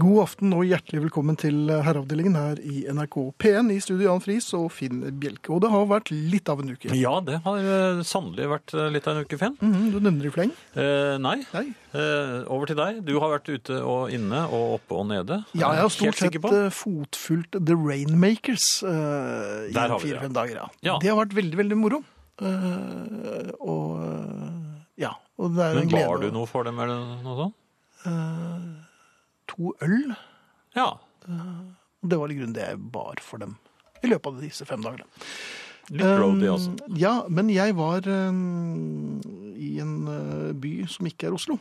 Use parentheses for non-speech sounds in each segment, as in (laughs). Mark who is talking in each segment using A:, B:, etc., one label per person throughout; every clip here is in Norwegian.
A: God aften og hjertelig velkommen til eh, Herreavdelingen her i NRK P1 i studio Jan Friis og Finn Bjelke. Og det har vært litt av en uke.
B: Ja, det har eh, sannelig vært eh, litt av en uke, Finn.
A: Mhm, du nevner i fleng.
B: Eh, nei.
A: Nei.
B: Eh, over til deg. Du har vært ute og inne og oppe og nede.
A: Ja, jeg har stort
B: Helt
A: sett
B: sikker på.
A: eh, fotfulgt The Rainmakers eh, i
B: Der har vi det,
A: fire-fem dager. Ja.
B: Ja.
A: Det har vært veldig, veldig moro. Eh, og eh, ja. Og det er en
B: Men
A: glede.
B: var du
A: å- eh,
B: noe for dem, eller noe sånt?
A: To øl.
B: Ja.
A: Og det var i grunnen det jeg bar for dem i løpet av disse fem dagene.
B: Litt roadie, altså.
A: Um, Ja, men jeg var um, i en uh, by som ikke er Oslo.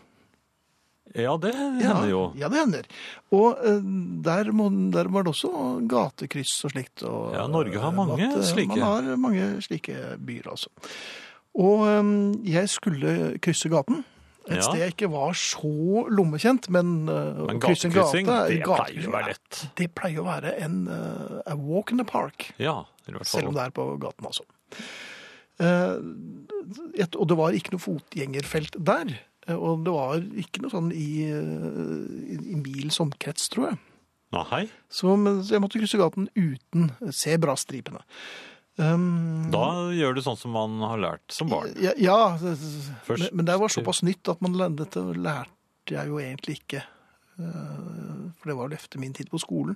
B: Ja, det hender jo.
A: Ja, det hender. Og uh, der, må, der var det også gatekryss og slikt. Og,
B: Ja, Norge har
A: uh,
B: mange
A: uh,
B: slike.
A: Man har mange slike byer, altså. Og um, jeg skulle krysse gaten. Et
B: Ja.
A: sted jeg ikke var så lommekjent, men, uh, å
B: Men
A: krysse en gate
B: gatekryssing, det pleier
A: gatekryssing,
B: jo å være
A: ja.
B: lett.
A: Det pleier å være en uh, a walk in the park.
B: Ja. i hvert
A: Selv om
B: fall.
A: det er på gaten, altså. Eh, et, og det var ikke noe fotgjengerfelt der. eh, Og det var ikke noe sånn i, eh, i, i mils omkrets, tror jeg.
B: Nei,
A: Så, men, så jeg måtte krysse gaten uten zebrastripene. Um, eh,
B: da gjør du sånn som man har lært som barn.
A: ja, ja men, men det var såpass nytt at man lærte, dette lærte jeg jo egentlig ikke. Eh, For det var jo efter min tid på skolen.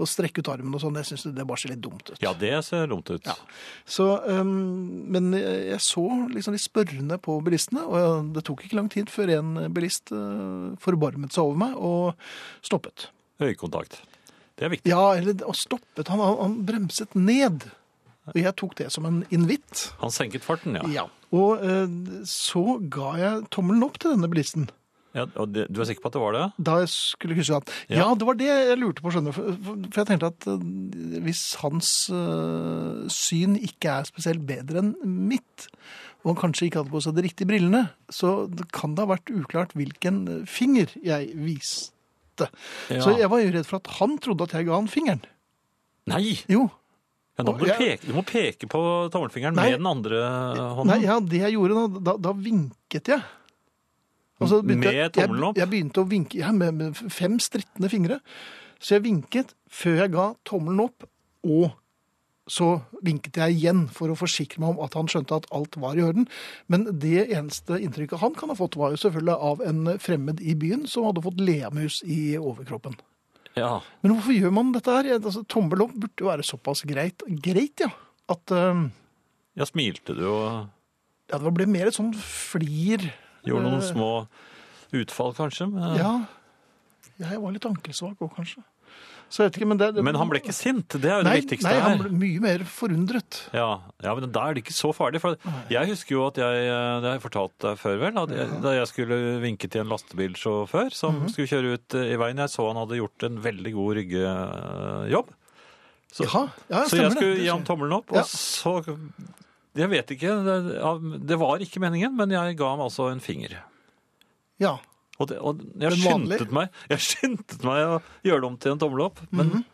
A: Å strekke ut armen og sånn, jeg syns det bare ser litt dumt ut.
B: Ja, det ser dumt ut.
A: Ja. Så, øhm, men jeg jeg så liksom litt spørrende på bilistene, og jeg- det tok ikke lang tid før en bilist øh, forbarmet seg over meg og stoppet.
B: Øyekontakt. Det er viktig.
A: Ja, eller og stoppet. Han, han, han bremset ned. Og jeg tok det som en invitt.
B: Han senket farten, ja.
A: Ja. Og øh, så ga jeg tommelen opp til denne bilisten
B: ja og det, du er sikker på at det var det?
A: da jeg skulle krysse gaten. Ja.
B: Ja.
A: det var det jeg lurte på, skjønner du. For, for for jeg tenkte at øh, hvis hans øh, syn ikke er spesielt bedre enn mitt, og han kanskje ikke hadde på seg de riktige brillene, så kan det ha vært uklart hvilken finger jeg viste.
B: Ja.
A: Så jeg var jo redd for at han trodde at jeg ga han fingeren.
B: Nei!
A: Jo.
B: Ja, da må
A: Og
B: du,
A: jeg-
B: peke, du må peke på tommelfingeren
A: Nei.
B: med den andre hånden.
A: Nei, ja, det jeg gjorde da, da, da vinket jeg. Og så begynte
B: Med
A: jeg-
B: tommelen opp?
A: Jeg, jeg begynte å vinke ja, med, med fem strittende fingre. Så jeg vinket før jeg ga tommelen opp, og så vinket jeg igjen for å forsikre meg om at han skjønte at alt var i orden. Men det eneste inntrykket han kan ha fått, var jo selvfølgelig av en fremmed i byen som hadde fått leamus i overkroppen.
B: Ja.
A: Men hvorfor gjør man dette her? Jeg- Altså, tommel opp burde jo være såpass greit, greit ja, at eh,
B: ja, smilte du og
A: ja, det ble mer et sånn flir
B: gjorde noen
A: Eh.
B: små utfall, kanskje? Men,
A: Ja. Jeg var litt ankelsvak òg, kanskje. Så jeg vet ikke, men det,
B: men han ble ikke sint, det er jo
A: nei,
B: det viktigste
A: nei,
B: her.
A: han ble mye mer forundret.
B: Ja, ja, men da er det ikke så farlig. For jeg husker jo at jeg øh, Det har jeg fortalt deg før, vel? At jeg, da jeg skulle vinke til en lastebilsjåfør som
A: Mhm.
B: skulle kjøre ut eh, i veien, jeg så han hadde gjort en veldig god ryggejobb. Så,
A: Jaha, ja,
B: så jeg
A: stemmer det.
B: skulle
A: Det
B: gi
A: skjer.
B: ham tommelen opp,
A: Ja.
B: og så Jeg vet ikke. Det, ja, det var ikke meningen, men jeg ga ham altså en finger.
A: Ja.
B: Og, det, og jeg,
A: Den vanlige?
B: skyndte meg, jeg skyndte meg å gjøre det om til en tommel opp. Men,
A: Mhm.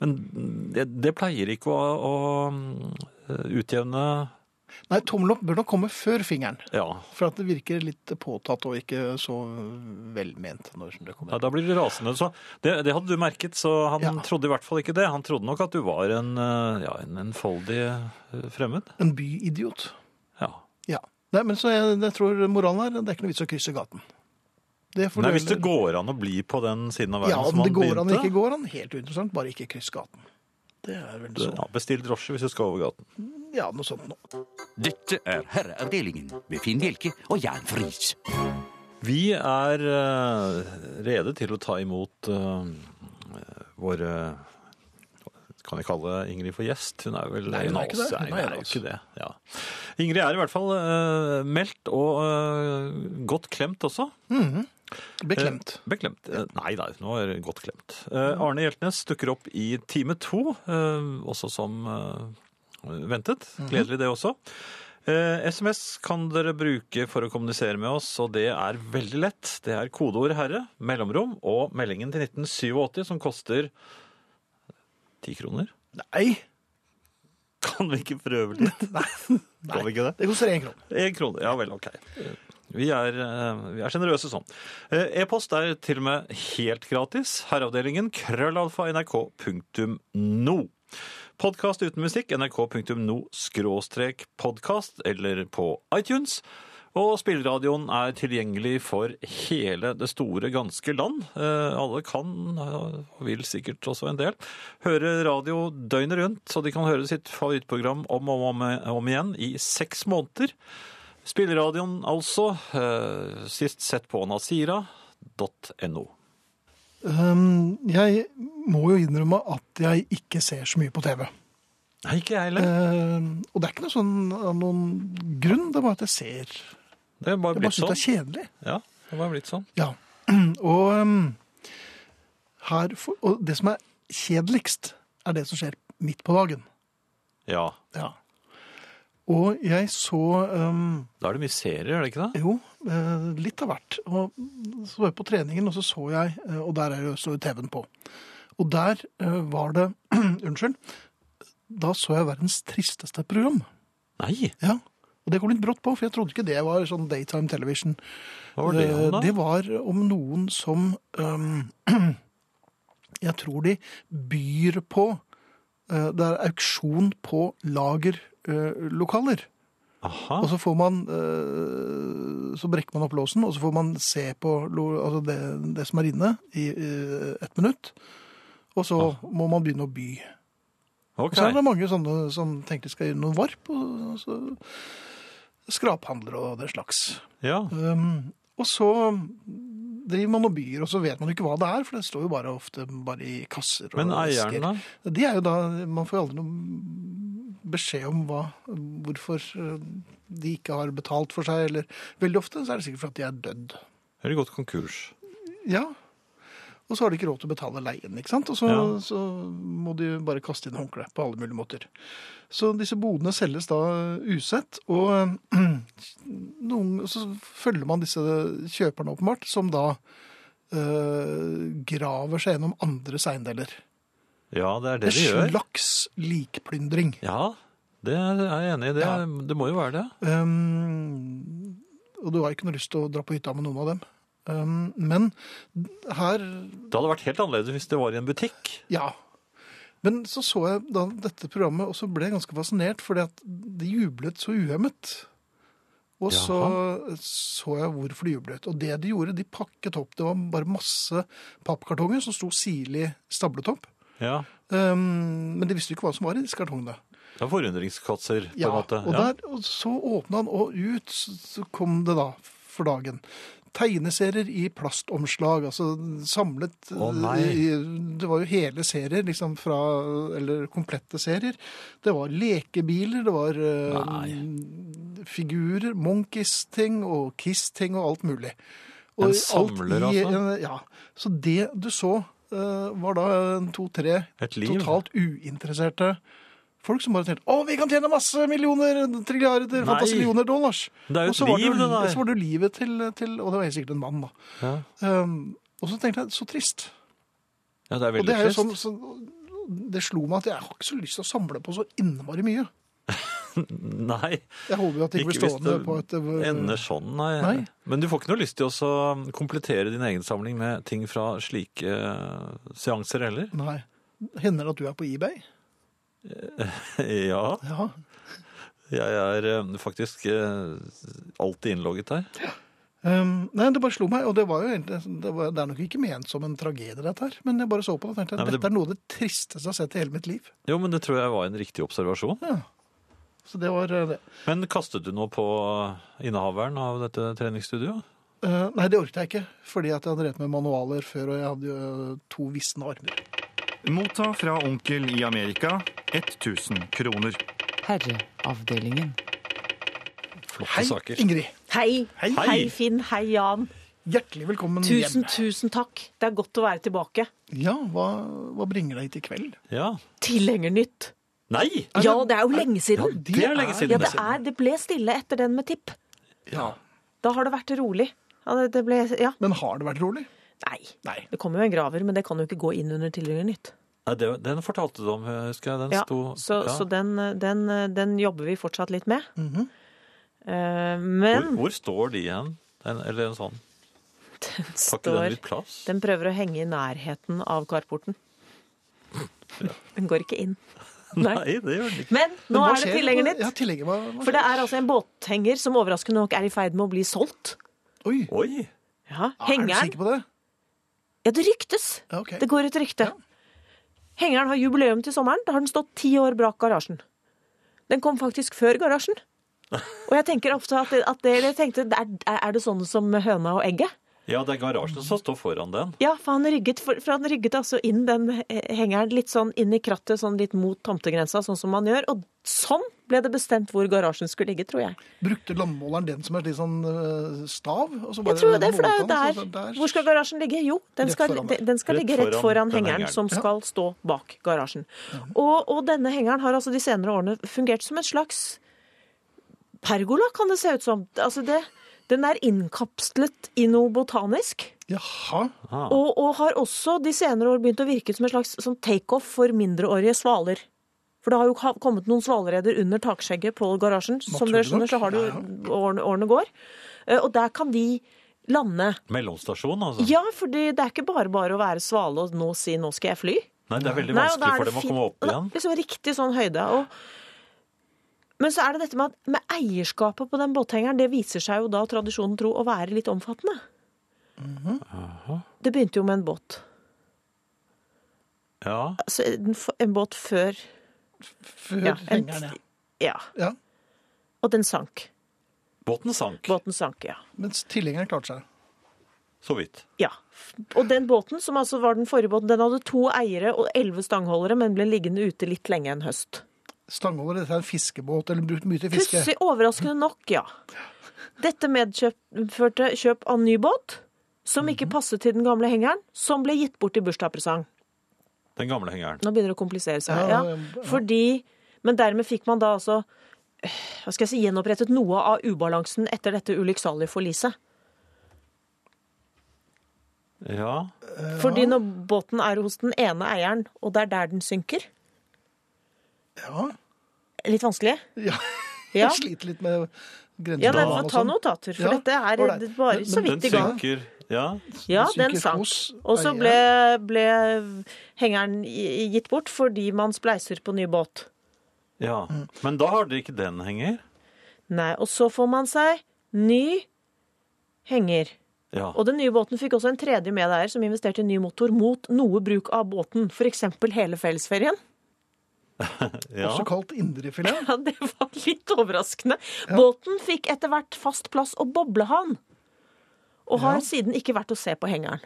B: men det, det pleier ikke å, å eh, utjevne
A: Nei, tommel opp bør nok komme før fingeren.
B: Ja,
A: For at det virker litt påtatt og ikke så velment når det
B: Ja,
A: kommer.
B: da blir du rasende. Så det, det hadde du merket, så han
A: Ja.
B: trodde i hvert fall ikke det. Han trodde nok at du var en, eh, ja, en enfoldig eh, fremmed.
A: En byidiot.
B: Ja.
A: Ja. Nei, men så jeg, jeg tror moralen er det er ikke noe vits å krysse gaten. Det får
B: Nei,
A: du
B: hvis det
A: heller-
B: går an å bli på den siden av verden
A: ja,
B: som
A: om det
B: han
A: går an
B: begynte.
A: eller ikke går an, helt uinteressant. Bare ikke kryss gaten. Det er vel sånn.
B: ja, bestill drosje hvis du skal over gaten.
A: Ja, noe sånt nå.
C: Dette er Herreavdelingen med Finn Bjelke og Jan Friis.
B: Vi er eh, rede til å ta imot eh, våre Kan jeg kalle Ingrid for gjest? Hun er vel
A: Nei, hun er ikke det.
B: Nei,
A: Hun er
B: hun er
A: en av
B: jo
A: oss.
B: ikke det. Ja. Ingrid er i hvert fall eh, meldt og eh, godt klemt også.
A: Beklemt.
B: Eh, Beklemt. Eh, Nei, nei, nå er det godt klemt. Eh, Arne Hjeltnes dukker opp i time to, eh, også som eh, ventet. Gledelig det også. Eh, SMS kan dere bruke for å kommunisere med oss, og det er veldig lett. Det er kodeord 'herre', mellomrom og meldingen til 1987 som koster ti kroner.
A: Nei.
B: (laughs) Kan vi ikke prøve litt? Kan vi ikke det?
A: Det koster én krone.
B: Én krone. Ja vel, OK. Eh, Vi er, eh, vi er generøse sånn. Eh, E-post er til og med helt gratis. Herreavdelingen krøllalfa nrk.no. Podkast uten musikk nrk.no skråstrek podkast eller på iTunes. Og spilleradioen er tilgjengelig for hele det store, ganske land. Eh, alle kan, eh, og vil sikkert også en del, høre radio døgnet rundt, så de kan høre sitt favorittprogram om og om, om igjen i seks måneder. Spilleradioen altså, eh, sist sett på nasira.no.
A: Um, jeg må jo innrømme at jeg ikke ser så mye på TV.
B: Nei, ikke jeg heller.
A: Eh, og det er ikke noe sånn, av noen grunn, det er bare at jeg ser.
B: Det er bare
A: Jeg bare
B: blitt
A: synes det
B: sånn.
A: er kjedelig.
B: Ja, det er bare blitt sånn.
A: Ja. (clears throat) Og, um, her, for- og det som er kjedeligst, er det som skjer midt på dagen.
B: Ja,
A: Ja. Og jeg så um,
B: da er det mye serier, er det ikke det?
A: Jo, eh, litt av hvert. Og så var jeg på treningen, og så så jeg eh, Og der er jo så TV-en på. Og der eh, var det (clears throat) Unnskyld. Da så jeg verdens tristeste program.
B: Nei,
A: Ja. Og det kom litt brått på, for jeg trodde ikke det var sånn daytime television. Eh,
B: hva var det om da?
A: Det var om noen som øhm, (clears throat) Jeg tror de byr på øh, Det er auksjon på lagerlokaler.
B: Aha,
A: og så får man øh, Så brekker man opp låsen, og så får man se på lo- altså det, det som er inne, i øh, ett minutt. Og så må man begynne å by. Og
B: ok.
A: så er det mange sånne som tenker de skal gjøre noen varp. Og så skraphandler og den slags.
B: Ja,
A: Um, og så driver man og byr, og så vet man jo ikke hva det er, for det står jo bare ofte bare i kasser. Og
B: men eieren da?
A: De er jo da, Man får jo aldri noen beskjed om hva, hvorfor eh, de ikke har betalt for seg. eller Veldig ofte så er det sikkert for at de er dødd.
B: Har de gått konkurs?
A: Ja. Og så har de ikke råd til å betale leien, ikke sant? og så,
B: Ja.
A: så må de jo bare kaste inn håndkleet på alle mulige måter. Så disse bodene selges da usett, og (clears throat) noen, så følger man disse kjøperne åpenbart, som da eh, graver seg gjennom andres eiendeler.
B: Ja, det er
A: En
B: det de gjør.
A: slags likplyndring.
B: Ja, det er er jeg enig i. Det,
A: Ja.
B: det må jo være det.
A: Um, og du har ikke noe lyst til å dra på hytta med noen av dem. Um, men her
B: Det hadde vært helt annerledes hvis det var i en butikk.
A: Ja. Men så så jeg da dette programmet, og så ble jeg ganske fascinert, fordi at de jublet så uhemmet. Og så så jeg hvorfor de jublet. Og det de gjorde, de pakket opp. Det var bare masse pappkartonger som sto sirlig stablet opp.
B: Ja,
A: Um, men de visste jo ikke hva som var i disse kartongene.
B: det er forundringskasser på
A: Ja,
B: en måte.
A: og, der, og så åpna han, og ut så kom det da for dagen. Tegneserier i plastomslag, altså samlet
B: Å, nei.
A: i- Det var jo hele serier, liksom fra Eller komplette serier. Det var lekebiler, det var eh, figurer, Monkeys-ting og Kiss-ting og alt mulig.
B: En samler,
A: alt i
B: altså?
A: en- Ja. Så det du så, eh, var da en, to-tre
B: Et liv.
A: totalt uinteresserte folk som bare tenkte å, vi kan tjene masse millioner, trilliarder,
B: Nei.
A: fantastisk millioner dollars.
B: Det er jo
A: Og så
B: et
A: var jo-
B: liv, det der.
A: Så var det jo livet til, til Og det var helt sikkert en mann, da.
B: Ja.
A: Um, og så tenkte jeg så trist.
B: ja, det er
A: og det
B: veldig
A: er jo
B: trist.
A: sånn, sånn Det slo meg at jeg har ikke så lyst til å samle på så innmari mye.
B: (laughs) Nei,
A: Jeg håper jo at det ikke
B: Ikke
A: blir
B: hvis
A: stående
B: det
A: på et eh,
B: ender sånn. Nei.
A: Nei.
B: Men du får ikke noe lyst til å så um, komplettere din egen samling med ting fra slike eh, seanser heller? (laughs)
A: Nei. Hender det at du er på eBay?
B: Ja,
A: Ja.
B: jeg er eh, faktisk eh, alltid innlogget der.
A: Um, nei, det bare slo meg, og det var jo egentlig det, var, det er nok ikke ment som en tragedie, dette her, men jeg bare så på det og tenkte at
B: Nei, men det-
A: dette er noe av det tristeste jeg har sett i hele mitt liv.
B: Jo, men det tror jeg var en riktig observasjon.
A: Ja. Så det var eh, det.
B: Men kastet du noe på uh, innehaveren av dette treningsstudioet?
A: Eh, nei, det orket jeg ikke, fordi at jeg hadde rett med manualer før, og jeg hadde jo eh, to visne armer.
D: Motta fra onkel i Amerika 1000 kroner.
E: Herreavdelingen.
B: Flotte
A: Hei,
B: saker.
A: Ingrid.
F: Hei.
A: Hei.
F: Hei, Finn. Hei, Jan.
A: Hjertelig velkommen
F: Tusen,
A: hjem.
F: tusen takk. Det er godt å være tilbake.
A: Ja, hva, hva bringer deg hit i kveld?
B: Ja.
F: Tilhengernytt.
B: Nei!
F: Ja, det er jo lenge siden.
B: Det er lenge siden.
F: Ja, det, er, det ble stille etter den med tipp.
A: Ja.
F: Da har det vært rolig. Ja, det, det ble, ja.
A: Men har det vært rolig?
F: Nei.
A: Nei.
F: Det kommer jo en graver, men det kan jo ikke gå inn under Tilhengernytt.
B: Nei, det- Den fortalte du om, eh, husker jeg. Den
F: Ja,
B: sto
F: så
B: ja.
F: så den, den, den jobber vi fortsatt litt med. Eh, Men
B: hvor, hvor står de igjen? En, eller en sånn. Tar ikke den
F: Står
B: litt plass?
F: Den prøver å henge i nærheten av karporten. Den går ikke inn. Nei.
B: Nei, det gjør den ikke.
F: Men nå
A: Men hva
F: er det
A: skjer?
F: tilhengeren ditt.
A: Ja, tilhenger, hva, hva
F: For det er altså en båthenger som overraskende nok er i ferd med å bli solgt.
A: skjer? Oi,
B: Oi!
A: Ah,
F: Ja,
A: er du
F: hengeren
A: sikker på det?
F: Ja, det ryktes.
A: Ja, ok.
F: Det går et rykte. Hengeren har jubileum til sommeren. Da har den stått ti år bak garasjen. Den kom faktisk før garasjen. Og jeg tenker ofte at, at dere tenkte er, er det sånn som med høna og egget?
B: Ja, det er garasjen som står foran den.
F: Ja, for han rygget, for, for han rygget altså inn den eh, hengeren litt sånn inn i krattet, sånn litt mot tomtegrensa, sånn som man gjør. Og sånn ble det bestemt hvor garasjen skulle ligge, tror jeg.
A: Brukte landmåleren den som et litt sånn øh, stav? og så bare
F: Jeg tror det, for det er jo
A: målte han,
F: der.
A: så der-
F: Hvor skal garasjen ligge? Jo, den
A: Rett
F: skal,
A: foran der.
F: den skal
B: Rett
F: ligge rett
B: foran
F: foran
B: den
F: hengeren,
B: hengeren.
F: som skal stå bak garasjen. Og, og denne hengeren har altså de senere årene fungert som en slags pergola, kan det se ut som. Altså det, den er innkapslet i noe botanisk.
A: Jaha,
B: Ah.
F: Og, og har også de senere år begynt å virke som en slags sånn takeoff for mindreårige svaler. For det har jo ha- kommet noen svalereder under takskjegget på garasjen. Som dere
A: Naturlig
F: skjønner, så har det
A: nok.
F: jo årene, årene går. Eh, Og der kan de lande.
B: Mellomstasjon, altså.
F: Ja, for det er ikke bare bare å være svale og nå si 'nå skal jeg fly'.
B: Nei, det er veldig
F: Nei, og da
B: vanskelig
F: er
B: for
F: det
B: dem å
F: fint-
B: komme opp
F: og da-
B: igjen.
F: Liksom riktig sånn høyde. Og, men så er det dette med at med eierskapet på den båthengeren, det viser seg jo da tradisjonen tro å være litt omfattende. Det begynte jo med en båt.
B: Ja.
F: Altså en, f- en båt før
A: før
F: ja, en,
A: hengeren, ja.
F: ja.
A: ja.
F: Og den sank.
B: Båten sank,
F: Båten sank, ja.
A: Mens tilhengeren klarte seg.
B: så vidt.
F: Ja. Og den båten, som altså var den forrige båten, den hadde to eiere og elleve stangholdere, men ble liggende ute litt lenge en høst.
A: Stangholder, dette er en fiskebåt, eller brukt mye til fiske.
F: Pussig, overraskende nok, ja. Dette medførte kjøp av ny båt, som
A: Mhm.
F: ikke passet til den gamle hengeren, som ble gitt bort i bursdagspresang.
B: Den gamle hengeren.
F: Nå begynner det å komplisere seg.
A: Ja,
F: Ja,
A: ja, ja.
F: Fordi, men dermed fikk man da altså eh, hva skal jeg si, gjenopprettet noe av ubalansen etter dette ulykksalige forliset.
B: Ja.
F: Fordi når båten er hos den ene eieren, og det er der den synker
A: Ja,
F: Litt vanskelig?
A: ja.
F: Ja.
A: Jeg (laughs) sliter litt med sånn.
F: Ja,
A: grensebanen
F: nei, men ta notater, for
A: Ja,
F: dette er
A: ålreit.
F: det bare
A: Men-
F: så
A: men
B: Den
F: vidt i gang.
B: synker. Ja.
F: Ja,
A: Den synker
F: den sank.
A: hos
F: Og så
A: eieren.
F: ble, ble hengeren i- gitt bort fordi man spleiser på ny båt.
B: ja. Men da har dere ikke den henger.
F: Nei, og så får man seg ny henger.
B: Ja.
F: Og den nye båten fikk også en tredje medeier som investerte i ny motor mot noe bruk av båten, f.eks. hele fellesferien.
B: ja.
A: Også kalt indrefilet.
F: (laughs) Ja, det var litt overraskende. Båten fikk etter hvert fast plass og boblehan, og har siden ikke vært å se på hengeren.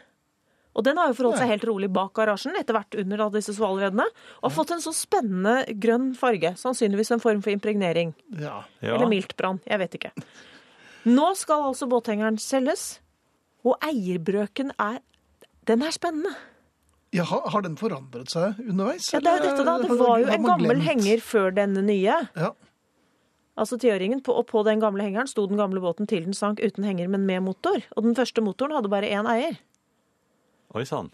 F: Og den har jo forholdt seg helt rolig bak garasjen, etter hvert under alle disse svalredene, og har fått en så spennende grønn farge, sannsynligvis en form for impregnering.
A: Ja.
B: ja.
F: Eller miltbrann, jeg vet ikke. Nå skal altså båthengeren selges, og eierbrøken er Den er spennende.
A: ja, har har den forandret seg underveis?
F: Ja, det er jo
A: eller
F: dette, da. Det
A: har-
F: var jo
A: har
F: en
A: man
F: gammel
A: glemt?
F: henger før denne nye.
A: Ja.
F: Altså tiåringen, på, og på den gamle hengeren sto den gamle båten til den sank uten henger, men med motor. Og den første motoren hadde bare én eier.
B: Oi sann.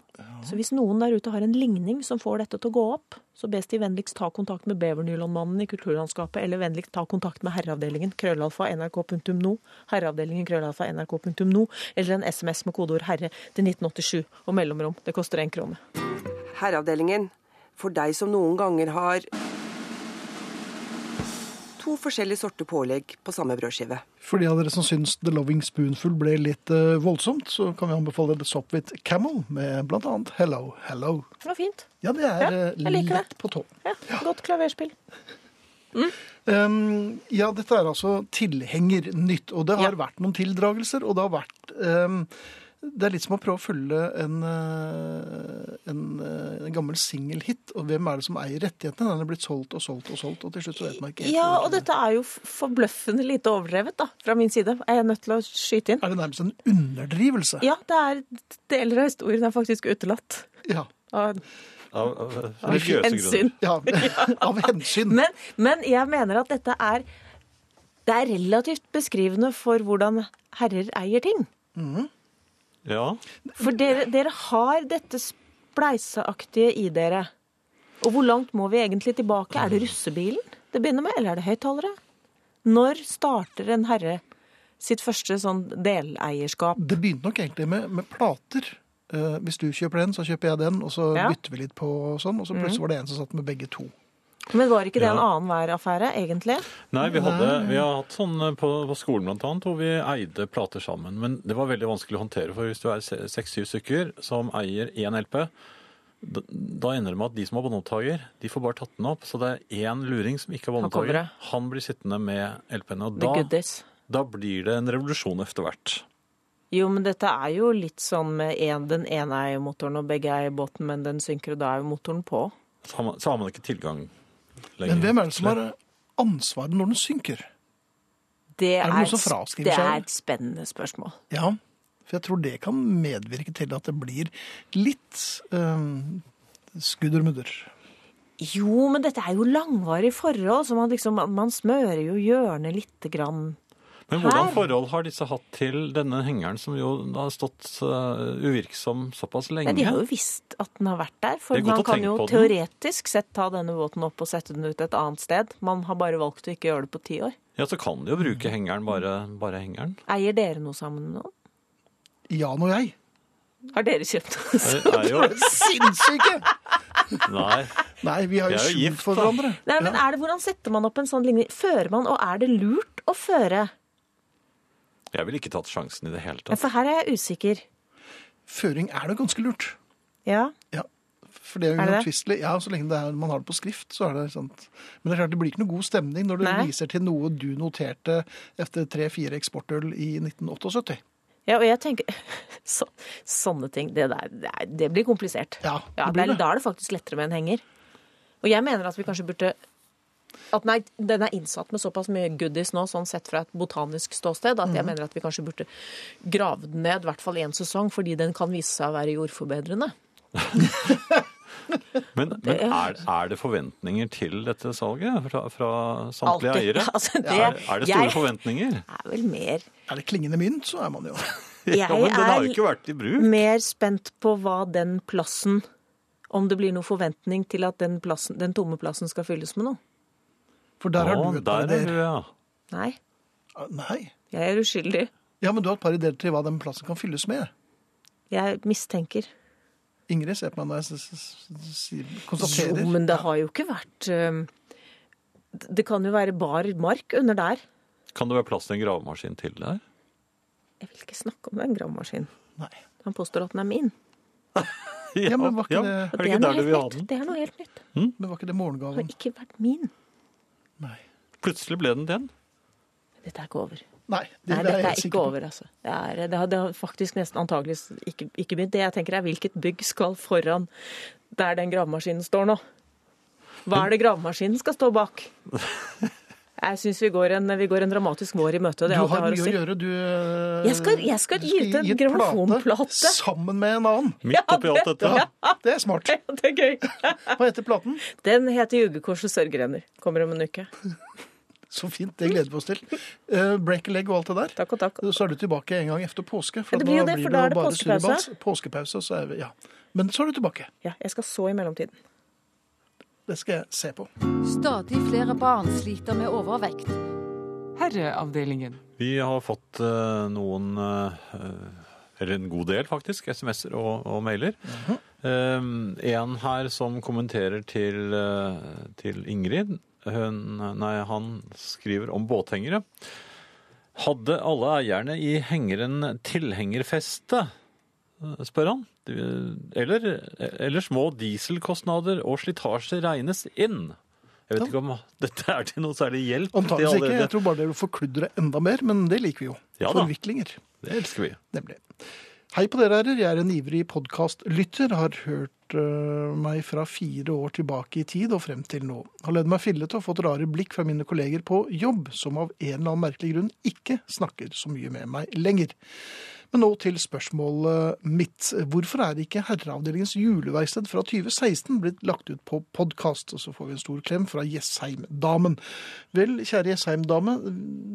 F: Så hvis noen der ute har en ligning som får dette til å gå opp, så bes de vennligst ta kontakt med Bevernylonmannen i Kulturlandskapet, eller vennligst ta kontakt med Herreavdelingen, krøllalfa nrk.no, Herreavdelingen, krøllalfa nrk.no, eller en SMS med kodeord 'herre' til 1987 og mellomrom. Det koster én krone.
G: Herreavdelingen, for deg som noen ganger har to forskjellige sorter pålegg på samme brødskive.
A: For de av dere som syns The Loving Spoonful ble litt eh, voldsomt, så kan vi anbefale The Sopwith Camel med bl.a. Hello, Hello.
F: Det var fint.
A: Ja, det er
F: Ja,
A: eh,
F: jeg liker det.
A: lett på tå.
F: Ja, Godt klaverspill.
A: Um, ja, dette er altså tilhengernytt, og det har
F: Ja.
A: vært noen tildragelser, og det har vært um, det er litt som å prøve å følge en, eh, en, eh, en gammel singelhit. Og hvem er det som eier rettighetene? Den er blitt solgt og solgt og solgt, og til slutt så vet man ikke helt
F: Ja,
A: hvor-
F: og dette er jo f- forbløffende lite overdrevet, da, fra min side. Er jeg nødt til å skyte inn?
A: Er det nærmest en underdrivelse?
F: Ja, det er deler av historien er faktisk utelatt.
A: Ja.
F: av-
B: Av, av, av
F: av
B: religiøse grunner.
F: hensyn.
A: ja. (laughs) Av hensyn.
F: Men, men jeg mener at dette er Det er relativt beskrivende for hvordan herrer eier ting.
B: Ja.
F: For dere, dere har dette spleiseaktige i dere. Og hvor langt må vi egentlig tilbake? Er det russebilen det begynner med, eller er det høyttalere? Når starter en herre sitt første sånn deleierskap.
A: Det begynte nok egentlig med, med plater. Eh, hvis du kjøper den, så kjøper jeg den, og så
F: Ja. Mhm.
A: bytter vi litt på og sånn. Og så plutselig var det en som satt med begge to.
F: Men var ikke det en
B: Ja.
F: annenhver affære, egentlig?
B: Nei, vi, hadde, vi har hatt sånn eh, på, på skolen blant annet, hvor vi eide plater sammen. Men det var veldig vanskelig å håndtere, for hvis du er se- seks-syv stykker som eier én LP, da, da ender det med at de som har båndopptaker, de får bare tatt den opp. Så det er én luring som ikke har
F: Han kommer,
B: båndopptaker.
F: ja.
B: Han blir sittende med LP-en, og
F: The
B: da,
F: goodies.
B: da blir det en revolusjon etter hvert.
F: Jo, men dette er jo litt sånn med en, den ene eier motoren, og begge eier båten, men den synker, og da er jo motoren på.
B: Så har man, så har man ikke tilgang lenger.
A: Men hvem er det som har ansvaret når den synker?
F: Det
A: Er det
F: er,
A: noen som fraskriver
F: det
A: seg
F: er
A: det?
F: et spennende spørsmål.
A: Ja, for jeg tror det kan medvirke til at det blir litt eh, skudd og mudder.
F: Jo, men dette er jo langvarige forhold, så man, liksom, man smører jo hjørnet lite grann.
B: Men hvordan
F: Her?
B: forhold har disse hatt til denne hengeren som jo har stått eh, uvirksom såpass lenge?
F: Nei, de har jo visst at den har vært der, for
B: Det er godt
F: man
B: å
F: kan
B: tenke
F: jo
B: på den.
F: teoretisk sett ta denne båten opp og sette den ut et annet sted. Man har bare valgt å ikke gjøre det på ti år.
B: Ja, så kan de jo
F: Mm.
B: bruke hengeren, bare, bare hengeren.
F: (laughs) Eier dere noe sammen med noen?
A: Jan og jeg.
F: Har dere kjøpt noe?
B: Det er jo
A: Sinnssyke!
B: Nei.
A: Nei, vi har jo
B: Vi er jo
A: skjult
B: gift,
A: for
B: da.
A: hverandre.
F: Nei, men er det, Hvordan setter man opp en sånn linje? Fører man, og er det lurt å føre?
B: Jeg ville ikke tatt sjansen i det hele
F: Ja,
B: tatt.
F: For her er jeg usikker.
A: Føring er det ganske lurt.
F: Ja.
A: Ja, for det er
F: Er det
A: jo
F: det?
A: uomtvistelig. Ja, så lenge det er, man har det på skrift, så er det sant. Men det er klart det blir ikke noe god stemning når du
F: Nei.
A: viser til noe du noterte etter tre-fire eksportøl i 1978.
F: ja, og jeg tenker (laughs) så, Sånne ting, det der, det er- det blir komplisert.
A: Ja,
F: ja
A: det blir
F: det er,
A: det.
F: Da er det faktisk lettere med en henger. Og jeg mener at vi kanskje burde at nei, Den er innsatt med såpass mye goodies nå, sånn sett fra et botanisk ståsted, at jeg mener at vi kanskje burde grave den ned, i hvert fall én sesong, fordi den kan vise seg å være jordforbedrende.
B: Men, men er, er det forventninger til dette salget fra, fra samtlige
F: Alltid.
B: eiere?
F: (laughs) Altså, det-
B: er, er det store
F: jeg-
B: forventninger? (laughs)
F: Det er vel mer
A: Er det klingende mynt, så er man jo
B: ja, men den har
F: er-
B: jo ikke vært i bruk.
F: mer spent på hva den plassen Om det blir noen forventning til at den, plassen, den tomme plassen skal fylles med noe.
A: For der har
B: Å,
A: du et par
B: der er du,
A: ideer. Ah,
B: ja.
F: Nei,
A: Nei.
F: jeg er uskyldig.
A: Ja, men du har et par ideer til hva den plassen kan fylles med.
F: Jeg mistenker.
A: Ingrid ser på meg når jeg s- s- s- sier-
F: Jo,
A: konstaterer.
F: men det har jo ikke vært øhm, Det kan jo være bar mark under der.
B: Kan det være plass til en gravemaskin til der?
F: Jeg vil ikke snakke om den gravemaskinen.
A: Nei.
F: Han påstår at den er min.
A: Ja, men var ikke det-
B: Er
F: Og
B: det ikke
F: noe
B: der du
F: helt
B: vil ha
F: nytt.
B: den?
F: Det er noe helt nytt.
A: Men var ikke det
F: Det
A: morgengaven?
F: har ikke vært min.
A: Nei.
B: Plutselig ble den den.
F: Dette er ikke over.
A: Nei, det
F: Nei,
A: er jeg
F: dette
A: helt
F: er
A: sikker
F: ikke
A: på.
F: over, altså. Det, er, det, har, det har faktisk nesten antageligvis ikke, ikke begynt. Det jeg tenker er hvilket bygg skal foran der den gravemaskinen står nå? Hva er det gravemaskinen skal stå
A: (laughs)
F: bak? Jeg syns vi, går en- vi går en dramatisk vår i møte. og
A: Du
F: Det er alt
A: har
F: jeg har
A: mye å
F: å si.
A: gjøre, du. eh,
F: Jeg skal- jeg skal
A: du
F: gi ut en
A: gi
F: gramofonplate.
A: Sammen med en annen.
B: Midt oppi alt dette.
A: Ja, det er
F: (laughs)
A: smart.
F: Det er gøy. (laughs)
A: Hva heter platen?
F: Den heter 'Jugekors og sørgerenner'. Kommer om en uke.
A: Så fint, det gleder vi oss til. Eh, break a leg og alt det der.
F: Takk og takk.
A: Så er du tilbake en gang etter påske.
F: Ja, det blir jo det, for da er det
A: bare
F: påskepause.
A: surrebals. Påskepause, så er vi, ja. Men så er du tilbake.
F: Ja, jeg skal så i mellomtiden.
A: Det skal jeg se på.
H: Stadig flere barn sliter med overvekt.
E: Herreavdelingen.
B: Vi har fått eh, noen, eh, eller en god del faktisk, sms'er og, og mailer. Eh, en her som kommenterer til, eh, til Ingrid, hun, nei, han skriver om båthengere. Hadde alle eierne i hengeren tilhengerfeste, eh, spør han. Eh, Eller, eller små dieselkostnader og slitasje regnes inn? Jeg vet ikke om dette er til noe særlig hjelp. til
A: Antakelig
B: alle
A: ikke.
B: dere.
A: Jeg tror bare det vil forkludre enda mer, men det liker vi jo.
B: Ja da.
A: Forviklinger.
B: Det elsker vi.
A: Nemlig. Hei på dere herrer, jeg er en ivrig podkastlytter, har hørt øh, meg fra fire år tilbake i tid og frem til nå. Har ledd meg fillete og fått rare blikk fra mine kolleger på jobb, som av en eller annen merkelig grunn ikke snakker så mye med meg lenger. Men nå til spørsmålet mitt. Hvorfor er ikke Herreavdelingens juleverksted fra 2016 blitt lagt ut på podkast? Og så får vi en stor klem fra Jessheim-damen. Vel, kjære Jessheim-dame,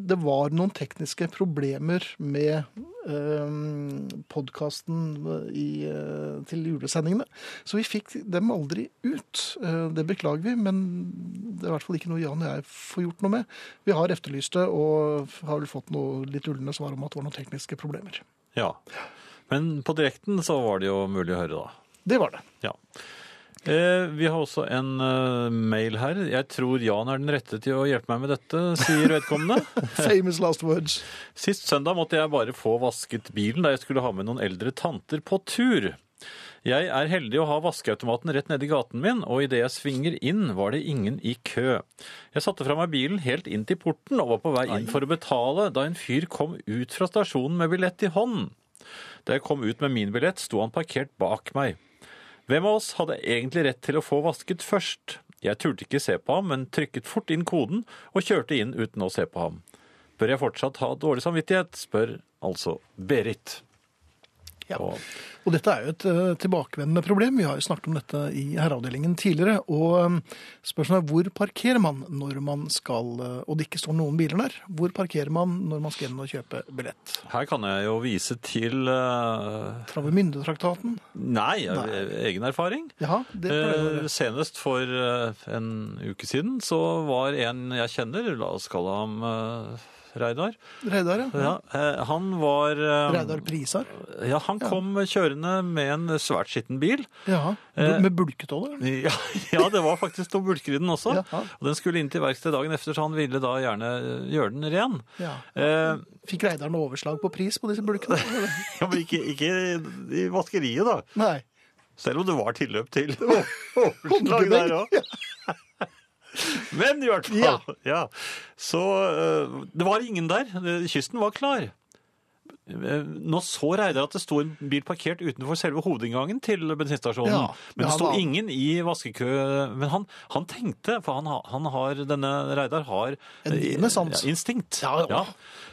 A: det var noen tekniske problemer med ehm, podkasten eh, til julesendingene. Så vi fikk dem aldri ut. Eh, Det beklager vi, men det er i hvert fall ikke noe Jan og jeg får gjort noe med. Vi har efterlyst det, og har vel fått noe litt ullende svar om at det var noen tekniske problemer.
B: Ja. Men på direkten så var det jo mulig å høre, da.
A: Det var det.
B: Ja. Eh, vi har også en eh, mail her. Jeg tror Jan er den rette til å hjelpe meg med dette, sier vedkommende.
A: Famous last words.
B: Sist søndag måtte jeg bare få vasket bilen da jeg skulle ha med noen eldre tanter på tur. Jeg er heldig å ha vaskeautomaten rett nedi gaten min, og idet jeg svinger inn, var det ingen i kø. Jeg satte fra meg bilen helt inn til porten og var på vei inn for å betale da en fyr kom ut fra stasjonen med billett i hånden. Da jeg kom ut med min billett, sto han parkert bak meg. Hvem av oss hadde egentlig rett til å få vasket først? Jeg turte ikke se på ham, men trykket fort inn koden og kjørte inn uten å se på ham. Bør jeg fortsatt ha dårlig samvittighet? spør altså Berit.
A: Ja.
B: Og,
A: Og dette er jo et eh, tilbakevendende problem. Vi har jo snakket om dette i herreavdelingen tidligere. Og eh, spørsmålet er hvor parkerer man når man skal eh, Og det ikke står noen biler der. Hvor parkerer man når man skal inn og kjøpe billett?
B: her kan jeg jo vise til eh,
A: Travemyndetraktaten?
B: Nei, av egen erfaring.
A: Ja, det pleier å
B: Eh,
A: være.
B: senest for eh, en uke siden så var en jeg kjenner, la oss kalle ham eh, Reidar
A: Reidar, ja.
B: ja, eh, Han var eh,
A: Reidar Prisar.
B: Ja, han kom kjørende med en svært skitten bil.
A: Ja.
B: Eh,
A: Med bulketåler?
B: (laughs) Ja, ja, det var faktisk noen bulker i den også.
A: Ja.
B: Og den skulle inn til verksted dagen efter, så han ville da gjerne eh, gjøre den ren.
A: Ja.
B: Eh,
A: Fikk Reidar noe overslag på pris på disse
B: (laughs)
A: bulkene? eller?
B: ja, men ikke, ikke i vaskeriet, da.
A: Nei.
B: Selv om det var tilløp til (laughs) overslag
A: Håndkledning.
B: der òg. Men i hvert fall. Ja. Så eh, det var ingen der. Eh, Kysten var klar. Eh, Nå så Reidar at det sto en bil parkert utenfor selve hovedinngangen til bensinstasjonen.
A: Ja,
B: men
A: ja,
B: det sto
A: da.
B: ingen i vaskekø. Men han, han tenkte, for han, har- han har, denne Reidar har
A: En
B: eh,
A: niende sans.
B: ja, instinkt.
A: Ja, ja.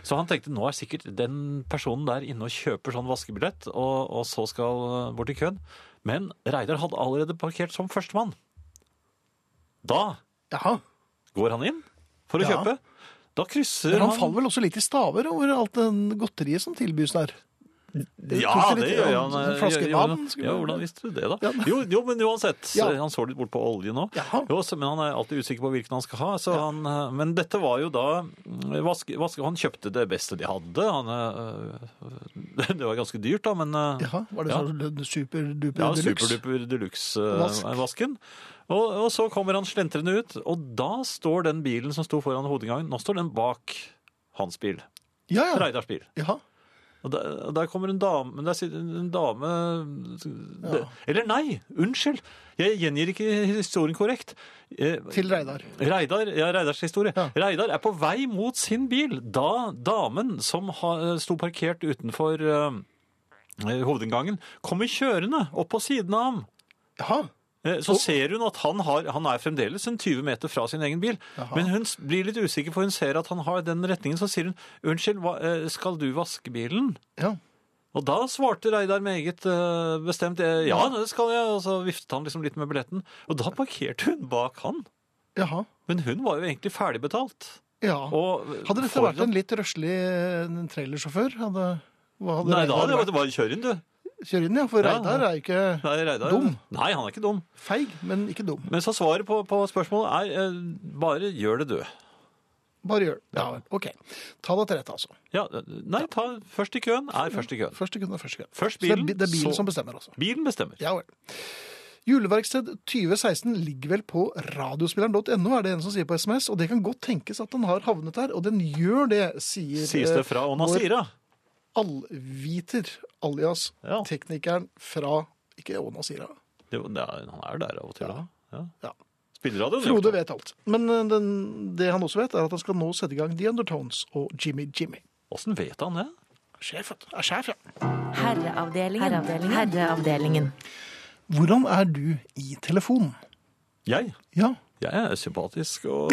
B: Så han tenkte nå er sikkert den personen der inne og kjøper sånn vaskebillett, og, og så skal eh, bort i køen. Men Reidar hadde allerede parkert som førstemann. Da
A: Ja.
B: går han inn for å
A: Ja.
B: kjøpe. Da krysser
A: Men han faller vel også litt i staver over alt den godteriet som tilbys der.
B: Ja,
A: Krysser
B: det
A: litt i
B: gjør
A: øynene,
B: han. eh,
A: en flaske
B: Gjør- gjør-
A: vann, skulle
B: Ja,
A: man-
B: hvordan visste du det, da?
A: Ja, nei.
B: Jo, jo men uansett.
A: Ja.
B: Han så litt bort på olje nå.
A: Jaha.
B: Jo, så, men han er alltid usikker på hvilken han skal ha. Så han, eh, men dette var jo da mm, vaske, vaske, Han kjøpte det beste de hadde. Han, eh, (laughs) det var ganske dyrt, da, men eh,
A: Jaha, var det
B: Ja.
A: sånn superduper
B: Ja,
A: deluxe?
B: superduper
A: Vask.
B: deluxe-vasken. og, og så kommer han slentrende ut, og da står den bilen som sto foran hovedgangen, nå står den bak hans bil.
A: Ja, ja.
B: Reidars bil.
A: Jaha.
B: Og der, og der kommer en dame men Der sitter en dame det, Eller nei! Unnskyld! Jeg gjengir ikke historien korrekt. Eh,
A: Til Reidar.
B: Reidar, ja, Reidars historie.
A: Ja.
B: Reidar er på vei mot sin bil da damen som ha- sto parkert utenfor eh, hovedinngangen, kommer kjørende opp på siden av ham.
A: Jaha.
B: Eh, Så ser hun at han, har, han er fremdeles en 20 meter fra sin egen bil.
A: Jaha.
B: Men hun s- blir litt usikker, for hun ser at han har den retningen. Så sier hun 'Unnskyld, hva, eh, skal du vaske bilen?'
A: Ja.
B: Og da svarte Reidar meget eh, bestemt eh, 'ja, det skal jeg', og så viftet han liksom litt med billetten. Og da parkerte hun bak han.
A: Jaha.
B: Men hun var jo egentlig ferdigbetalt.
A: Ja.
B: Og sånn-
A: Hadde dette
B: foran-
A: vært en litt røslig eh, trailersjåfør? Hadde, hva hadde
B: Nei, da hadde
A: Reidar
B: det bare kjør inn, du.
A: vært? Kjør inn, ja. For
B: Ja.
A: Reidar er jo ikke
B: Nei, Reidar.
A: Dum.
B: Nei, han er ikke dum.
A: feig, men ikke dum.
B: Men så svaret på, på spørsmålet er eh, bare gjør det, du.
A: Bare gjør det. Ja, vel. OK. Ta deg til rette, altså.
B: Ja, nei, ta først i køen, er først i køen.
A: Første kunde, første kunde. Så
B: Først
A: det er
B: bilen,
A: bi- det er bilen
B: så-
A: som bestemmer, altså.
B: Bilen bestemmer.
A: Ja vel. Juleverksted 2016 ligger vel på radiospilleren.no, er det en som sier på SMS. Og det kan godt tenkes at den har havnet der, og den gjør det, sier eh,
B: Sies det fra Onasira.
A: Allviter, alias
B: Ja.
A: teknikeren fra Ikke Åna Sira.
B: Det, det er, han er der av og til, da. Ja.
A: Ja.
B: Spilleradioen.
A: Frode
B: gjør det.
A: vet alt. Men eh, den, det han også vet, er at han skal nå sette i gang The Undertones og Jimmy Jimmy.
B: Åssen vet han det?
A: Sjef, vet du. Er sjef, ja.
I: Herreavdelingen. Herreavdelingen.
A: Hvordan er du i telefonen?
B: Jeg?
A: Ja,
B: Jeg er sympatisk og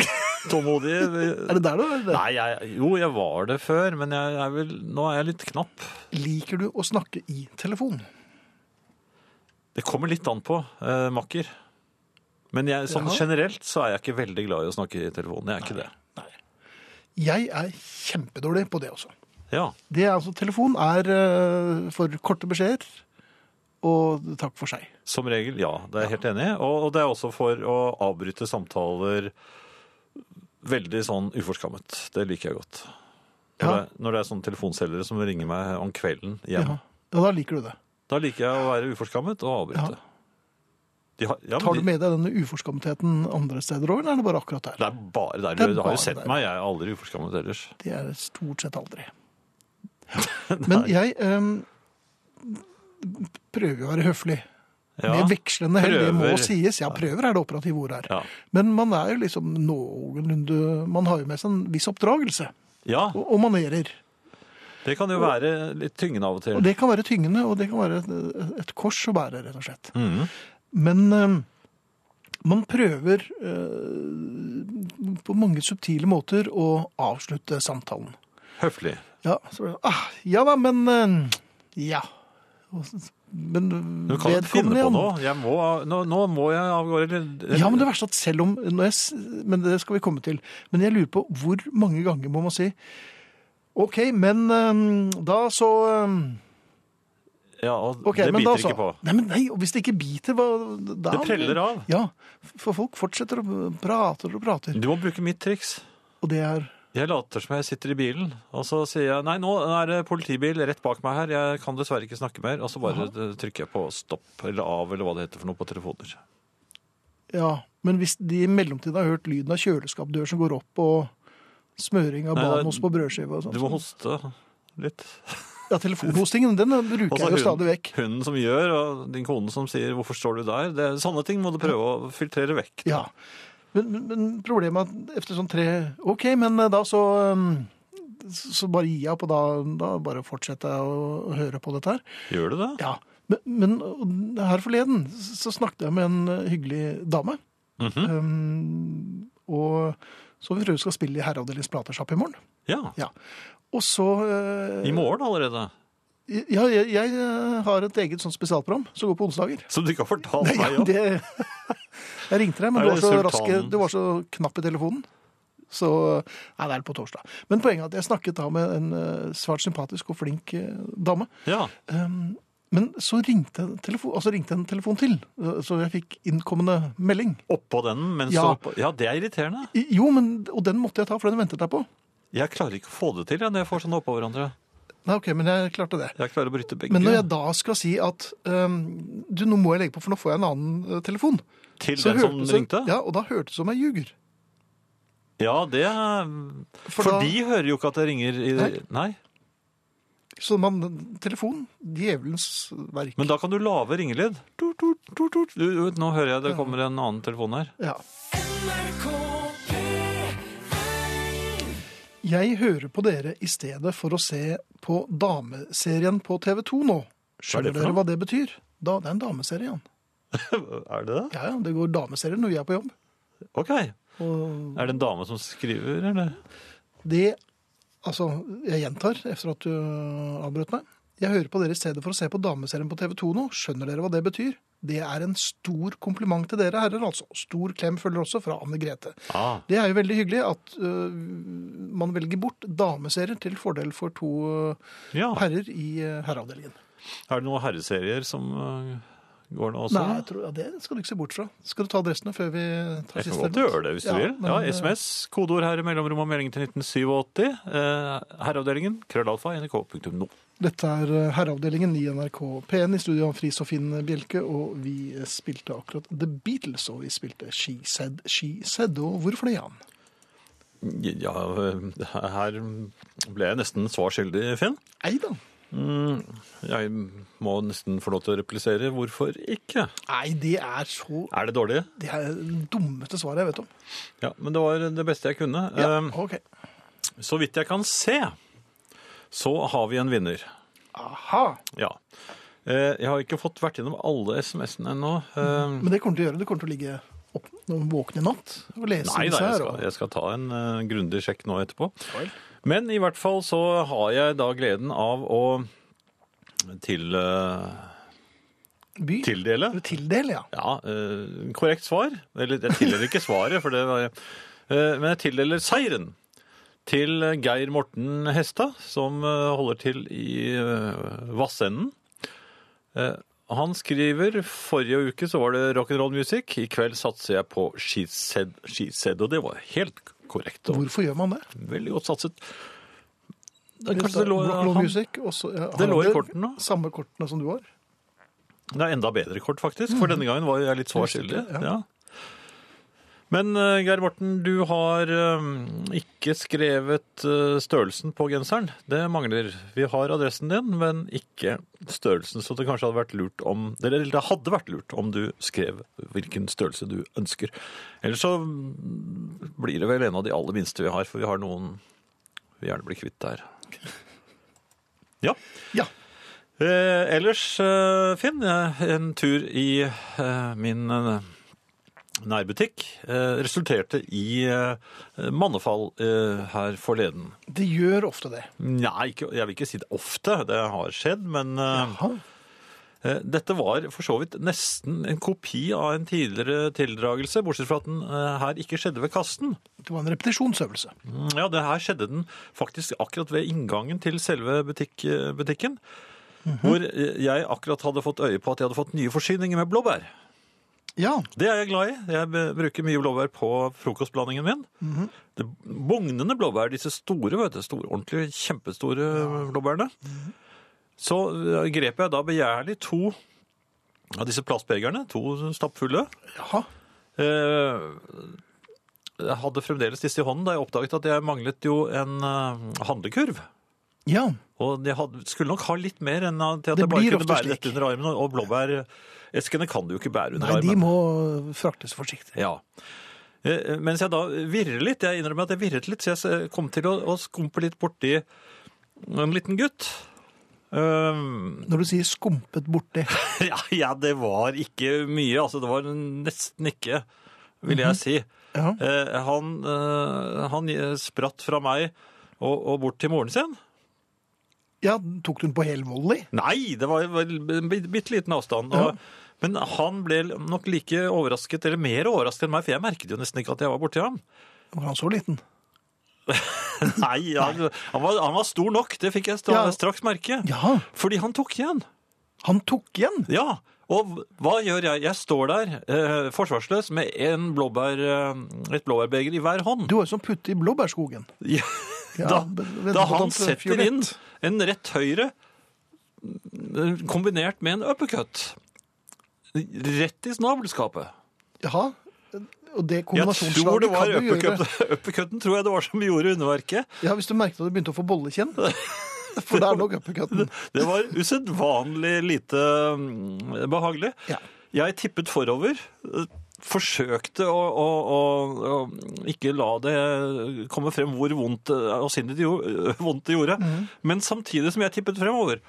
B: tålmodig.
A: er det der du er?
B: Nei, jeg, jo, jeg var det før, men jeg er vel, nå er jeg litt knapp.
A: Liker du å snakke i telefon?
B: Det kommer litt an på, eh, makker. Men jeg, sånn
A: Jaha.
B: generelt så er jeg ikke veldig glad i å snakke i telefonen. Jeg er ikke det.
A: Jeg er kjempedårlig på det også.
B: Ja.
A: Det er altså telefon er eh, for korte beskjeder og takk for seg.
B: Som regel, ja. Det er jeg helt enig i. Og, og det er også for å avbryte samtaler veldig sånn uforskammet. Det liker jeg godt. Når,
A: Ja.
B: det, når det er sånne telefonselgere som ringer meg om kvelden hjemme.
A: Ja. ja, da liker du det.
B: Da liker jeg å være uforskammet og avbryte. De har, ja, men
A: Tar du
B: de-
A: med deg denne uforskamtheten andre steder òg, eller er det bare akkurat der?
B: Det er bare der.
A: Det er
B: Du har
A: bare
B: jo sett
A: der.
B: meg. Jeg er aldri uforskammet ellers.
A: Det er det stort sett
B: (laughs)
A: aldri. Men jeg em, prøver jo å være høflig.
B: Ja.
A: Med vekslende hell, det må
B: Prøver.
A: sies. Ja, prøver er det operative ordet her.
B: Ja.
A: Men man er jo liksom noenlunde Man har jo med seg en viss oppdragelse.
B: ja,
A: Og, og manerer.
B: det kan jo være litt tyngende av og
A: Og
B: til.
A: det kan være tyngende, og det kan være et, et kors å bære, rett og slett.
B: Mhm.
A: Men eh, man prøver eh, på mange subtile måter å avslutte samtalen.
B: Høflig.
A: Ja, så blir det ah, Ja da, men eh, Ja. Og så- Men
B: Du kan jo finne
A: vedkommende,
B: på
A: ja.
B: noe. Jeg må, nå, nå må jeg av gårde. eller-
A: Ja, men det verste er at selv om når jeg, s- Men det skal vi komme til. Men jeg lurer på hvor mange ganger må man si OK, men eh, da så eh,
B: ja, og
A: Ok,
B: det
A: men da
B: biter
A: så-
B: ikke på.
A: Nei, men nei, og hvis det ikke biter, hva da?
B: Det preller av.
A: Ja, for folk fortsetter og prater og prater.
B: Du må bruke mitt triks.
A: Og det er
B: Jeg later som jeg sitter i bilen, og så sier jeg nei, nå er det politibil rett bak meg her, jeg kan dessverre ikke snakke mer, og så bare trykker jeg på stopp eller av eller hva det heter for noe på telefoner.
A: Ja. Men hvis de i mellomtiden har hørt lyden av kjøleskapdør som går opp, og smøring av
B: Nei, da-
A: banost på brødskive og sånn
B: Du må hoste litt.
A: Ja, telefonhostingen, den eh, bruker jeg jo
B: hun-
A: stadig vekk.
B: hunden som gjør, og din kone som sier 'hvorfor står du der'? Det, sånne ting må du prøve å filtrere vekk.
A: Ja. Men, men, men problemet er at etter sånn tre OK, men eh, da så um, Så bare gir jeg opp, og da, da bare fortsetter jeg å, å høre på dette her.
B: Gjør du det?
A: Ja, men, men her forleden så snakket jeg med en eh, hyggelig dame. um, og så vi tror vi skal spille i Herreavdelingens platesjapp i morgen.
B: Ja.
A: Ja. Og så eh,
B: I morgen allerede.
A: Ja, jeg, jeg eh, har et eget sånt spesialprogram som går på onsdager.
B: Som du ikke har fortalt
A: Ja,
B: meg om.
A: det, (laughs) jeg ringte deg, men
B: Er
A: du var,
B: det
A: så
B: sultanen?
A: raske, du var så knapp i telefonen. Så Nei, det er på torsdag. Men poenget er at jeg snakket da med en eh, svært sympatisk og flink eh, dame.
B: Ja.
A: Um, men så ringte en telefon, altså ringte en telefon til, uh, så jeg fikk innkommende melding.
B: Oppå den, mens
A: Ja.
B: du oppå- Ja, det er irriterende.
A: I, jo, men, og den måtte jeg ta, for den ventet jeg på.
B: Jeg klarer ikke å få det til jeg, når jeg får sånne oppå hverandre.
A: Nei, ok, men jeg klarte det.
B: Jeg klarer å bryte begge
A: Men når jeg da skal si at um, du, nå må jeg legge på, for nå får jeg en annen uh, telefon.
B: til
A: så
B: den som
A: hørtes det-
B: ringte.
A: Ja,
B: Ja,
A: og da hørtes det som jeg ljuger.
B: det er...
A: For
B: For,
A: da-
B: de hører jo ikke at det ringer i
A: Nei.
B: Nei.
A: Så man, telefon, djevelens verk.
B: Men da kan du lave ringelyd. Tut, tut, tut, tut. Du, du, Nå hører jeg det kommer en annen telefon her.
A: Ja. Jeg hører på dere i stedet for å se på dameserien på TV 2 nå.
B: Hva er
A: Skjønner
B: det for
A: dere
B: noe?
A: hva det betyr? Da, det er en dameserie, Jan.
B: Er det det?
A: Ja, ja, det går dameserie når vi er på jobb.
B: Ok. Er det en dame som skriver, eller?
A: Det, altså, jeg gjentar etter at du avbrøt meg. Jeg hører på dere i stedet for å se på dameserien på TV 2 nå. Skjønner dere hva det betyr? Det er en stor kompliment til dere herrer, altså. Stor klem følger også fra Anne Grete.
B: Ah,
A: Det er jo veldig hyggelig at øh, man velger bort dameserier til fordel for to øh,
B: ja.
A: herrer i øh, herreavdelingen.
B: Er det noen herreserier som øh, går nå også?
A: Nei, jeg tror, ja, det skal du ikke se bort fra. Skal du ta adressene før vi tar
B: Jeg
A: siste?
B: kan godt gjøre det hvis du vil. Ja,
A: eh,
B: SMS, kodeord her i mellomrom og melding til 1987. Eh, herreavdelingen, krøllalfa, nrk.no.
A: øh, Dette er herreavdelingen i NRK P1 i studio av Friis og Finn Bjelke, og vi spilte akkurat The Beatles, og vi spilte She Said, She Said, og hvorfor det, Jan?
B: Ja, øh, her ble jeg nesten svar skyldig, Finn.
A: Nei da.
B: Mm, jeg må nesten få lov til å replisere. Hvorfor ikke?
A: Nei, det er så
B: Er det dårlig?
A: Det er det dummeste svaret jeg vet om.
B: Ja, men det var det beste jeg kunne.
A: Ja,
B: Eh,
A: ok.
B: Så vidt jeg kan se, så har vi en vinner.
A: Aha.
B: Ja. Eh, Jeg har ikke fått vært gjennom alle SMS-ene ennå. Eh,
A: Men det kommer til å gjøre. Du kommer til å ligge opp, våken i natt og lese
B: Nei da,
A: disse
B: jeg
A: her.
B: skal,
A: og-
B: jeg skal ta en uh, grundig sjekk nå etterpå. Men i hvert fall så har jeg da gleden av å til, eh,
A: By.
B: tildele
A: Tildel, ja.
B: Ja, eh, korrekt svar. Eller jeg tildeler ikke svaret, for det var jeg. Eh, men jeg tildeler seieren til Geir Morten Hestad, som eh, holder til i eh, Vassenden. Eh, Han skriver forrige uke så var det rock'n'roll-musikk. I kveld satser jeg på She Said, She Said, og det var helt korrekt. Og
A: Hvorfor gjør man det?
B: veldig godt satset. Det, er
A: Rock
B: kanskje det, lå,
A: Roll
B: han,
A: Music. og så- ja,
B: det
A: har
B: lå i
A: han
B: kortene.
A: Samme kortene som du har.
B: Det er enda bedre kort, faktisk, for denne gangen var jeg litt svar skyldig.
A: Usikker,
B: Ja. Men eh, Geir Morten, du har eh, ikke skrevet eh, størrelsen på genseren. Det mangler. Vi har adressen din, men ikke størrelsen, så det kanskje hadde vært lurt om Eller det hadde vært lurt om du skrev hvilken størrelse du ønsker. Ellers så mm, blir det vel en av de aller minste vi har, for vi har noen vi gjerne blir kvitt der. Ja.
A: Ja.
B: Eh, ellers, eh, Finn, eh, en tur i eh, min eh, nærbutikk eh, resulterte i eh, mannefall eh, her forleden.
A: Det gjør ofte det.
B: Nei, ikke, jeg vil ikke si det ofte, det har skjedd, men eh,
A: Jaha.
B: eh, dette var for så vidt nesten en kopi av en tidligere tildragelse, bortsett fra at den eh, her ikke skjedde ved kassen.
A: Det var en repetisjonsøvelse.
B: Mm, Ja, det her skjedde den faktisk akkurat ved inngangen til selve butikk, butikken. Hvor jeg akkurat hadde fått øye på at jeg hadde fått nye forsyninger med blåbær.
A: Ja.
B: Det er jeg glad i. Jeg be- bruker mye blåbær på frokostblandingen min. Det bugnende blåbær, disse store, vet du, store, ordentlig kjempestore blåbærene. Så eh, grep jeg da begjærlig to av disse plastbegerne, to stappfulle.
A: Jaha.
B: Eh, Jeg hadde fremdeles disse i hånden da jeg oppdaget at jeg manglet jo en eh, handlekurv.
A: Ja.
B: Og jeg hadde, skulle nok ha litt mer enn til at
A: Det
B: jeg bare
A: blir
B: kunne
A: ofte
B: bære
A: slik.
B: dette under armen. Og blåbæreskene kan du jo ikke bære under
A: Nei, de
B: armen.
A: må fraktes forsiktig.
B: Ja. Eh, Mens jeg da virrer litt, jeg innrømmer at jeg virret litt, så jeg s- eh, kom til å, å skumpe litt borti en liten gutt. Um,
A: Når du sier skumpet borti
B: (laughs) ja, ja, det var ikke mye, altså det var nesten ikke, vil jeg si.
A: Mhm. Ja.
B: Eh, han, eh, han eh, spratt fra meg og, og bort til moren sin.
A: Ja, tok du den på hel volley?
B: Nei, det var vel en bit- bitte liten avstand.
A: Ja.
B: Og, Men han ble nok like overrasket, eller mer overrasket enn meg, for jeg merket jo nesten ikke at jeg var
A: (laughs)
B: borti ham.
A: Var han så liten?
B: Nei, han, han, var, han var stor nok, det fikk jeg stra
A: Ja.
B: straks merke.
A: Ja.
B: Fordi han tok igjen.
A: Han tok igjen!
B: Ja, og hva gjør jeg? Jeg står der eh, forsvarsløs med en blåbær, eh, et blåbærbeger i hver hånd.
A: Du var jo som putte i blåbærskogen.
B: Ja,
A: Ja,
B: da,
A: men- men
B: da
A: hvordan
B: han
A: treffer
B: setter
A: det?
B: inn en rett høyre mm, kombinert med en uppercut. Rett i snabelskapet.
A: Jaha. Og det
B: Jeg tror
A: kombinasjonsslaget
B: det var
A: kan du gjøre.
B: uppercut- (laughs) uppercutten tror jeg det var som gjorde underverket.
A: Ja, Hvis du merket at du begynte å få
B: (laughs)
A: bollekjenn. For det er nok uppercutten.
B: Det var usedvanlig lite mm, behagelig.
A: Ja.
B: Jeg tippet forover. eh, Forsøkte å, å, å, å ikke la det komme frem hvor vondt eh, og sinnet det gjo- (laughs) vondt det gjorde. Men samtidig som jeg tippet fremover,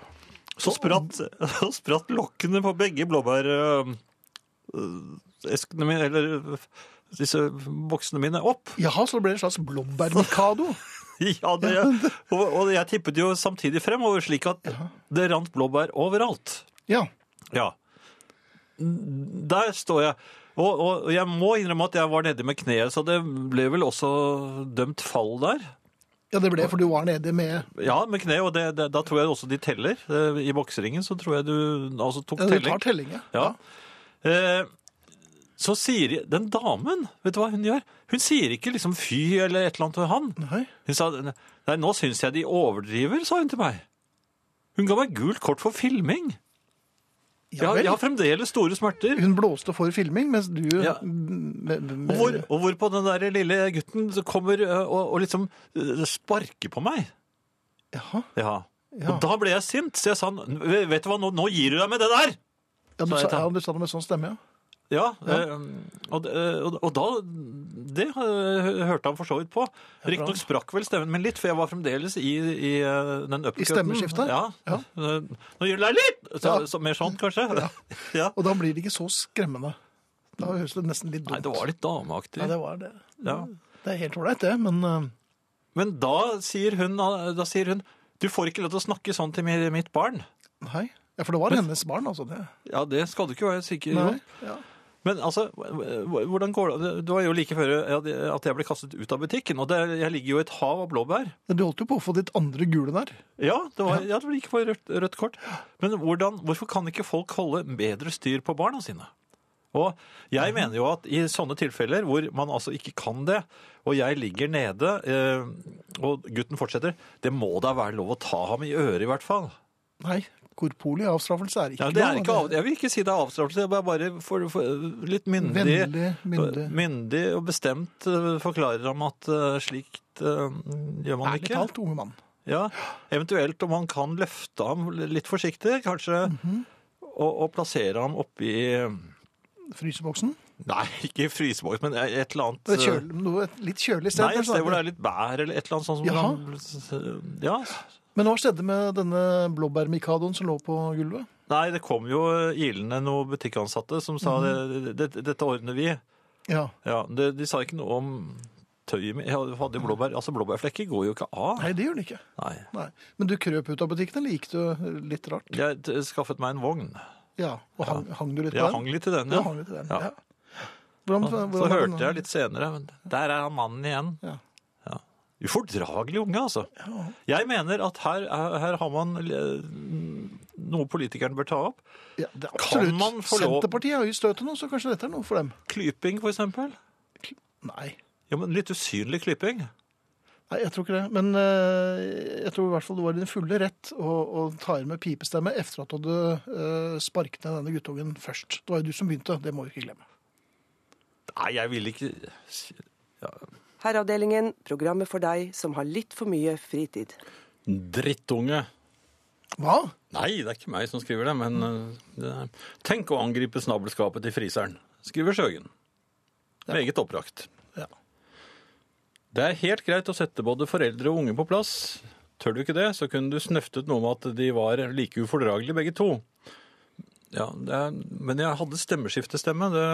B: så spratt, (laughs) så spratt lokkene på begge blåbær... eh, eh, Eskene mine, eller eh, disse boksene mine, opp. (laughs)
A: Jaha, så det ble en slags blåbærmikado.
B: Ja, det, og, og jeg tippet jo samtidig fremover, slik at det rant blåbær overalt.
A: Ja.
B: Ja. Der står jeg. Og, og jeg må innrømme at jeg var nedi med kneet, så det ble vel også dømt fall der.
A: ja, det ble for du var nede med
B: Ja, med kneet, og det, det, da tror jeg også de teller. Eh, I bokseringen så tror jeg du altså tok
A: ja, Du
B: telling.
A: tar telling, ja.
B: Ja. Eh, så sier den damen, vet du hva hun gjør? Hun sier ikke liksom fy eller et eller annet til han.
A: Nei.
B: Hun sa nei, nå syns jeg de overdriver, sa hun til meg. Hun ga meg gult kort for filming. Jeg,
A: Ja
B: har-
A: vel.
B: jeg har fremdeles store smerter.
A: Hun blåste for filming, mens du
B: Ja.
A: med, med,
B: Og, hvor, og hvorpå den der lille gutten så kommer ø, og, og liksom ø, sparker på meg.
A: Jaha.
B: Ja.
A: Ja.
B: Og da ble jeg sint, så jeg sa "N- vet du hva, nå, nå gir du deg med det der!
A: Ja, du
B: Så
A: sa,
B: jeg tar-
A: ja, du sa det med sånn stemme, ja.
B: Ja, ø, og, d- ø, og, og da Det ø, hørte han for så vidt på. Riktignok sprakk vel stemmen min litt, for jeg var fremdeles i, i ø, den upcutten.
A: stemmeskiftet?
B: Ja.
A: Ja.
B: Ø, Nå gir du deg litt! Så,
A: Ja.
B: så, mer sånn, kanskje. (laughs) Ja.
A: Og da blir det ikke så skremmende. Da høres det nesten litt dumt
B: Nei, det var litt dameaktig.
A: Ja, det var det.
B: Ja.
A: Det er helt ålreit, det, men eh,
B: Men da sier, hun, da sier hun Du får ikke lov til å snakke sånn til mi- mitt barn.
A: nei. Ja, For det var hennes barn, altså. det.
B: Ja, det skal du ikke være sikker
A: Nei.
B: på.
A: Ja.
J: Men altså, hvordan går det? Det var jo like før at jeg ble kastet ut av butikken, og det, jeg ligger jo i et hav av blåbær.
A: Du holdt jo på å få ditt andre gule der.
J: Ja, det var, ja, det var like før rødt, rødt kort. Men hvordan, hvorfor kan ikke folk holde bedre styr på barna sine? Og jeg mener jo at i sånne tilfeller hvor man altså ikke kan det, og jeg ligger nede, eh, og gutten fortsetter, det må da være lov å ta ham i øret i hvert fall.
A: Nei, korporlig avstraffelse er ikke
J: Ja, det er
A: lov.
J: ikke av, jeg vil ikke si det er avstraffelse, det er bare for, for, litt myndig,
A: Vennlig, myndig.
J: myndig og bestemt eh, forklarer ham at eh, slikt eh, gjør man
A: Ærlig
J: ikke.
A: talt, unge mann.
J: Ja, eventuelt om han kan løfte ham litt forsiktig, kanskje, og, og plassere ham oppi
A: Fryseboksen.
J: Nei, ikke i fryseboks, men et eller annet eh,
A: Det er kjøl, noe, et litt kjølig sted.
J: Nei, et sted
A: kanskje.
J: hvor det er litt bær eller et eller annet sånt. Som kan- ja.
A: Men hva skjedde med denne blåbærmikadoen som lå på gulvet?
J: Nei, det kom jo eh, ilende noen butikkansatte som sa det, det, dette ordner vi.
A: Ja,
J: Ja, det, de sa ikke noe om tøyet mitt. Jeg hadde jo blåbær. Altså, blåbærflekker går jo ikke av.
A: Nei, det gjør den ikke.
J: Nei.
A: Nei. Men du krøp ut av butikken, eller gikk du eh, litt rart?
J: Jeg t- skaffet meg en vogn.
A: Ja, Og hang, hang du litt på
J: Jeg
A: den?
J: hang litt i den,
A: Du
J: ja.
A: hang litt i den,
J: Ja.
A: ja. Hvordan,
J: Så hørte jeg litt senere, men der er han mannen igjen.
A: Ja.
J: Ja. Ufordragelig unge, altså. Jeg mener at her, er- her har man eh, noe politikeren bør ta opp.
A: ja, det er
J: Kan
A: Absolutt.
J: man få lov-
A: Senterpartiet har jo støtet nå, så kanskje dette er noe for dem.
J: Klyping, for eksempel.
A: Nei.
J: Ja, men litt usynlig klyping.
A: Nei, jeg tror ikke det. Men eh, jeg tror i hvert fall du var i din fulle rett å, å ta inn med pipestemme etter at du hadde eh, sparket ned denne guttungen først. Det var jo du som begynte, det må vi ikke glemme.
J: Nei, jeg vil ikke
G: Herreavdelingen, programmet for deg som har litt for mye fritid.
B: Drittunge.
A: Hva?
B: Nei, det er ikke meg som skriver det, men eh, det er... Tenk å angripe snabelskapet til friseren, skriver Sjøgen. Meget oppbrakt.
A: Ja.
B: Det er helt greit å sette både foreldre og unge på plass. Tør du ikke det, så kunne du snøftet noe med at de var like ufordragelige begge to. Ja, det er... Men jeg hadde stemmeskiftestemme. Det...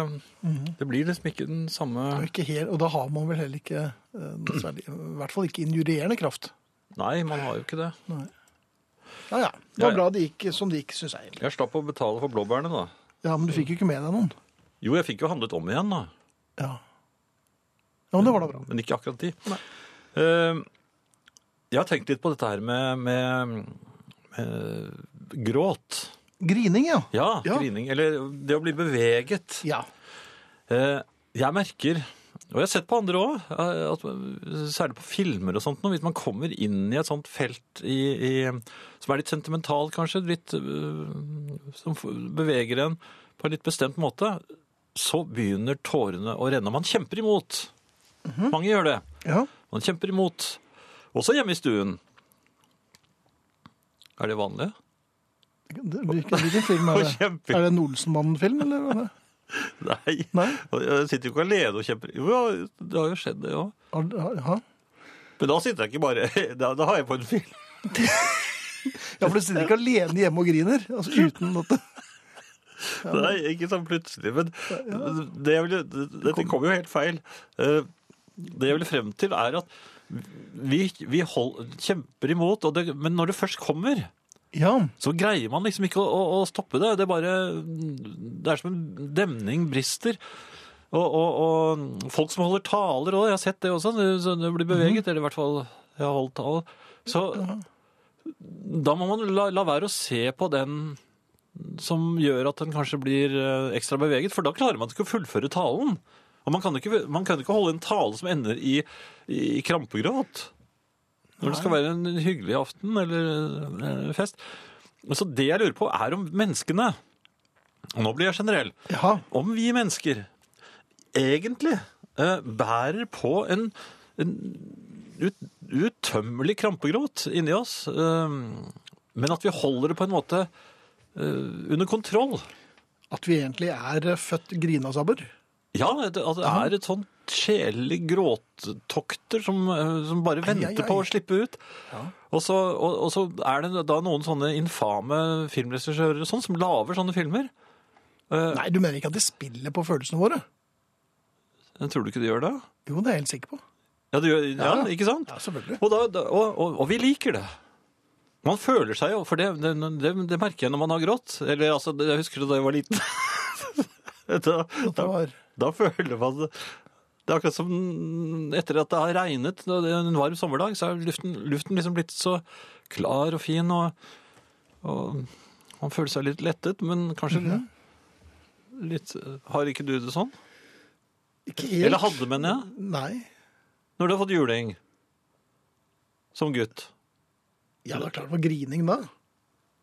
B: det blir liksom ikke den samme
A: Og, ikke helt, og da har man vel heller ikke eh, noe særlig, I hvert fall ikke injurierende kraft.
B: Nei, man har jo ikke det.
A: Ja, ja. Det var
B: Ja, ja.
A: bra det gikk som det gikk, syns jeg. egentlig.
B: Jeg slapp å betale for blåbærene, da.
A: Ja, Men du fikk jo ikke med deg noen.
B: Jo, jeg fikk jo handlet om igjen, da.
A: Ja, ja men det var da bra.
B: Men ikke akkurat de. Eh, jeg har tenkt litt på dette her med, med, med gråt.
A: Grining, ja.
B: Ja,
A: Ja.
B: grining. Eller det å bli beveget.
A: Ja.
B: Eh, jeg merker, og jeg har sett på andre òg, at særlig på filmer og sånt, nå, hvis man kommer inn i et sånt felt i, i, som er litt sentimentalt, kanskje, litt, eh, som beveger en på en litt bestemt måte, så begynner tårene å renne. Man kjemper imot. Mange gjør det.
A: ja.
B: Man kjemper imot. Også hjemme i stuen. Er det vanlig?
A: Det- Hvilken, hvilken film (laughs) er det?
B: Kjempe-
A: Er det en Olsenmannen-film, eller? hva er det?
B: Nei.
A: Nei?
B: Jeg sitter jo ikke alene og kjemper. Jo, ja, det har jo skjedd, det òg.
A: Har- har- Ja.
B: Men da sitter jeg ikke bare (laughs) Da, da har jeg på en film.
A: ja, for du sitter ikke alene hjemme og griner. Altså uten at det
B: Nei, ikke sånn plutselig. Men det jeg ville, dette kom jo helt feil. Eh, Det jeg ville frem til, er at vi, vi hold, kjemper imot, og det, men når det først kommer,
A: Ja.
B: så greier man liksom ikke å, å, å stoppe det. Det er bare Det er som en demning brister. Og, og, og folk som holder taler òg, jeg har sett det også, det- så det blir beveget. Eller i hvert fall jeg har holdt tale. Så da må man la, la være å se på den som gjør at den kanskje blir eh, ekstra beveget, for da klarer man ikke å fullføre talen. Og man kan ikke, man kan ikke holde en tale som ender i, i krampegråt. Når det skal være en hyggelig aften eller eh, fest. Men Så det jeg lurer på er om menneskene, og nå blir jeg generell,
A: ja.
B: om vi mennesker egentlig eh, bærer på en, en ut, uttømmelig krampegråt inni oss, eh, men at vi holder det på en måte eh, under kontroll.
A: At vi egentlig er eh, født grinasabber.
B: Ja, det, at det er et sånt sjelelig gråttokter som, eh, som bare venter
A: ai,
B: på
A: ai.
B: å slippe ut. Og, så, og, og så er det da noen sånne infame filmregissører og sånn som lager sånne filmer.
A: Nei, du mener ikke at de spiller på følelsene våre?
B: Tror du ikke de gjør det?
A: Jo, det er jeg helt sikker på.
B: Ja, det gjør, ja,
A: Ja.
B: ikke sant?
A: Ja, selvfølgelig.
B: Og, da, da, og, og, og vi liker det. Man føler seg jo, for det, det, det, det merker jeg når man har grått. Eller altså, det- jeg husker da jeg var liten. (laughs) Da,
A: at det
B: da,
A: var
B: da føler man det. Det er akkurat som etter at det har regnet, da det er en varm sommerdag, så er luften, luften liksom blitt så klar og fin, og, og man føler seg litt lettet, men kanskje litt Har ikke du det sånn?
A: ikke helt
B: Eller hadde, mener jeg?
A: Nei.
B: Når du har fått juling som gutt.
A: Ja, det er klart det var grining da.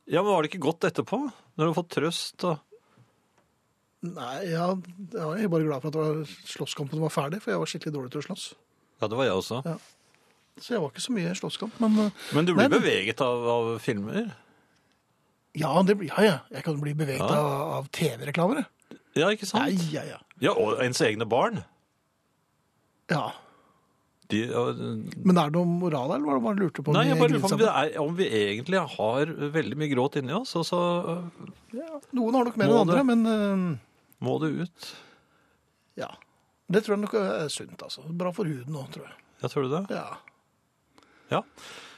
B: Ja, men var det ikke godt etterpå? Når du har fått trøst og
A: Nei, ja, jeg var bare glad for at det var slåsskampen var ferdig, for jeg var skikkelig dårlig til å slåss.
B: Ja, det var jeg også.
A: Så jeg var ikke så mye i slåsskamp, men uh,
B: Men du blir
A: Nei, men-
B: beveget av, av filmer?
A: ja, det blir ja, ja. jeg. kan bli beveget
B: Ja.
A: av, av TV-reklamer. jeg.
B: Ja, ikke
A: Nei,
B: sant?
A: ja, ja.
B: Ja, og ens egne barn.
A: ja.
B: De, og,
A: Men er det noe moral her, eller var det bare du lurte på? om
B: nei, jeg
A: vi
B: bare lurer på
A: griner
B: om vi,
A: sammen?
B: er, om vi egentlig har veldig mye gråt inni oss, og så øh,
A: Noen har nok mer
B: Må
A: enn andre, men uh,
B: må det ut.
A: ja. Det tror jeg nok er sunt, altså. Bra for huden òg, tror jeg.
B: Ja, tror du det?
A: Ja.
B: Ja.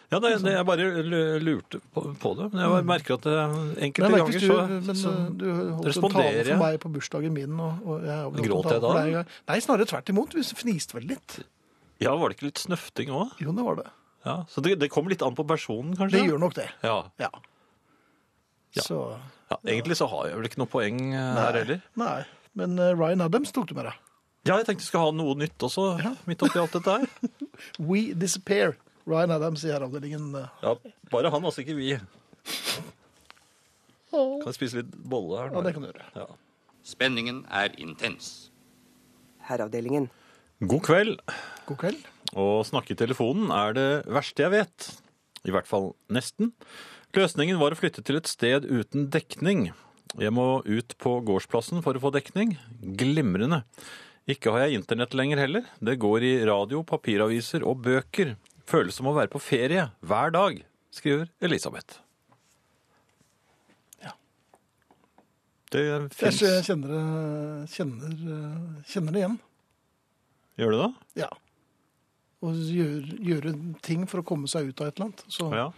B: Ja, det, det, jeg bare lu- lurte på, på det. Men jeg bare merker at det
A: Men jeg
B: enkelte
A: Mm. merker
B: ganger
A: hvis
B: så,
A: du, men,
B: så
A: uh, du holdt en
B: responderer
A: tale
B: jeg.
A: for meg på bursdagen min, og, og jeg har vel holdt en
B: Gråt jeg
A: tale for
B: da?
A: deg en gang. Nei, snarere tvert imot. Vi fniste vel litt.
B: Ja, var det ikke litt snøfting òg?
A: Jo, det var det.
B: Ja. Så det, det kommer litt an på personen, kanskje?
A: Det gjør nok det.
B: Ja.
A: Ja.
B: Ja.
A: Så
B: ja. Egentlig så har jeg vel ikke noe poeng eh, her heller.
A: Nei. Men eh, Ryan Adams tok du med deg.
B: Ja, jeg tenkte jeg skulle ha noe nytt også, midt oppi alt dette her.
A: We disappear. Ryan Adams i herreavdelingen. eh.
B: (laughs) Ja, bare han, altså ikke vi. Kan jeg spise litt bolle her? nå?
A: Ja, det kan du gjøre.
B: Ja.
C: Spenningen er intens.
G: Herreavdelingen.
B: God kveld.
A: God kveld.
B: Å snakke i telefonen er det verste jeg vet. I hvert fall nesten. Løsningen var å flytte til et sted uten dekning. Jeg må ut på gårdsplassen for å få dekning. Glimrende. Ikke har jeg internett lenger heller. Det går i radio, papiraviser og bøker. Føles som å være på ferie hver dag, skriver Elisabeth. Ja. Det
A: Jeg
B: fins.
A: jeg kjenner, det- kjenner, eh, kjenner det igjen.
B: Gjør det da?
A: Ja. Å gjøre, gjøre ting for å komme seg ut av et eller annet. Så
B: Ja.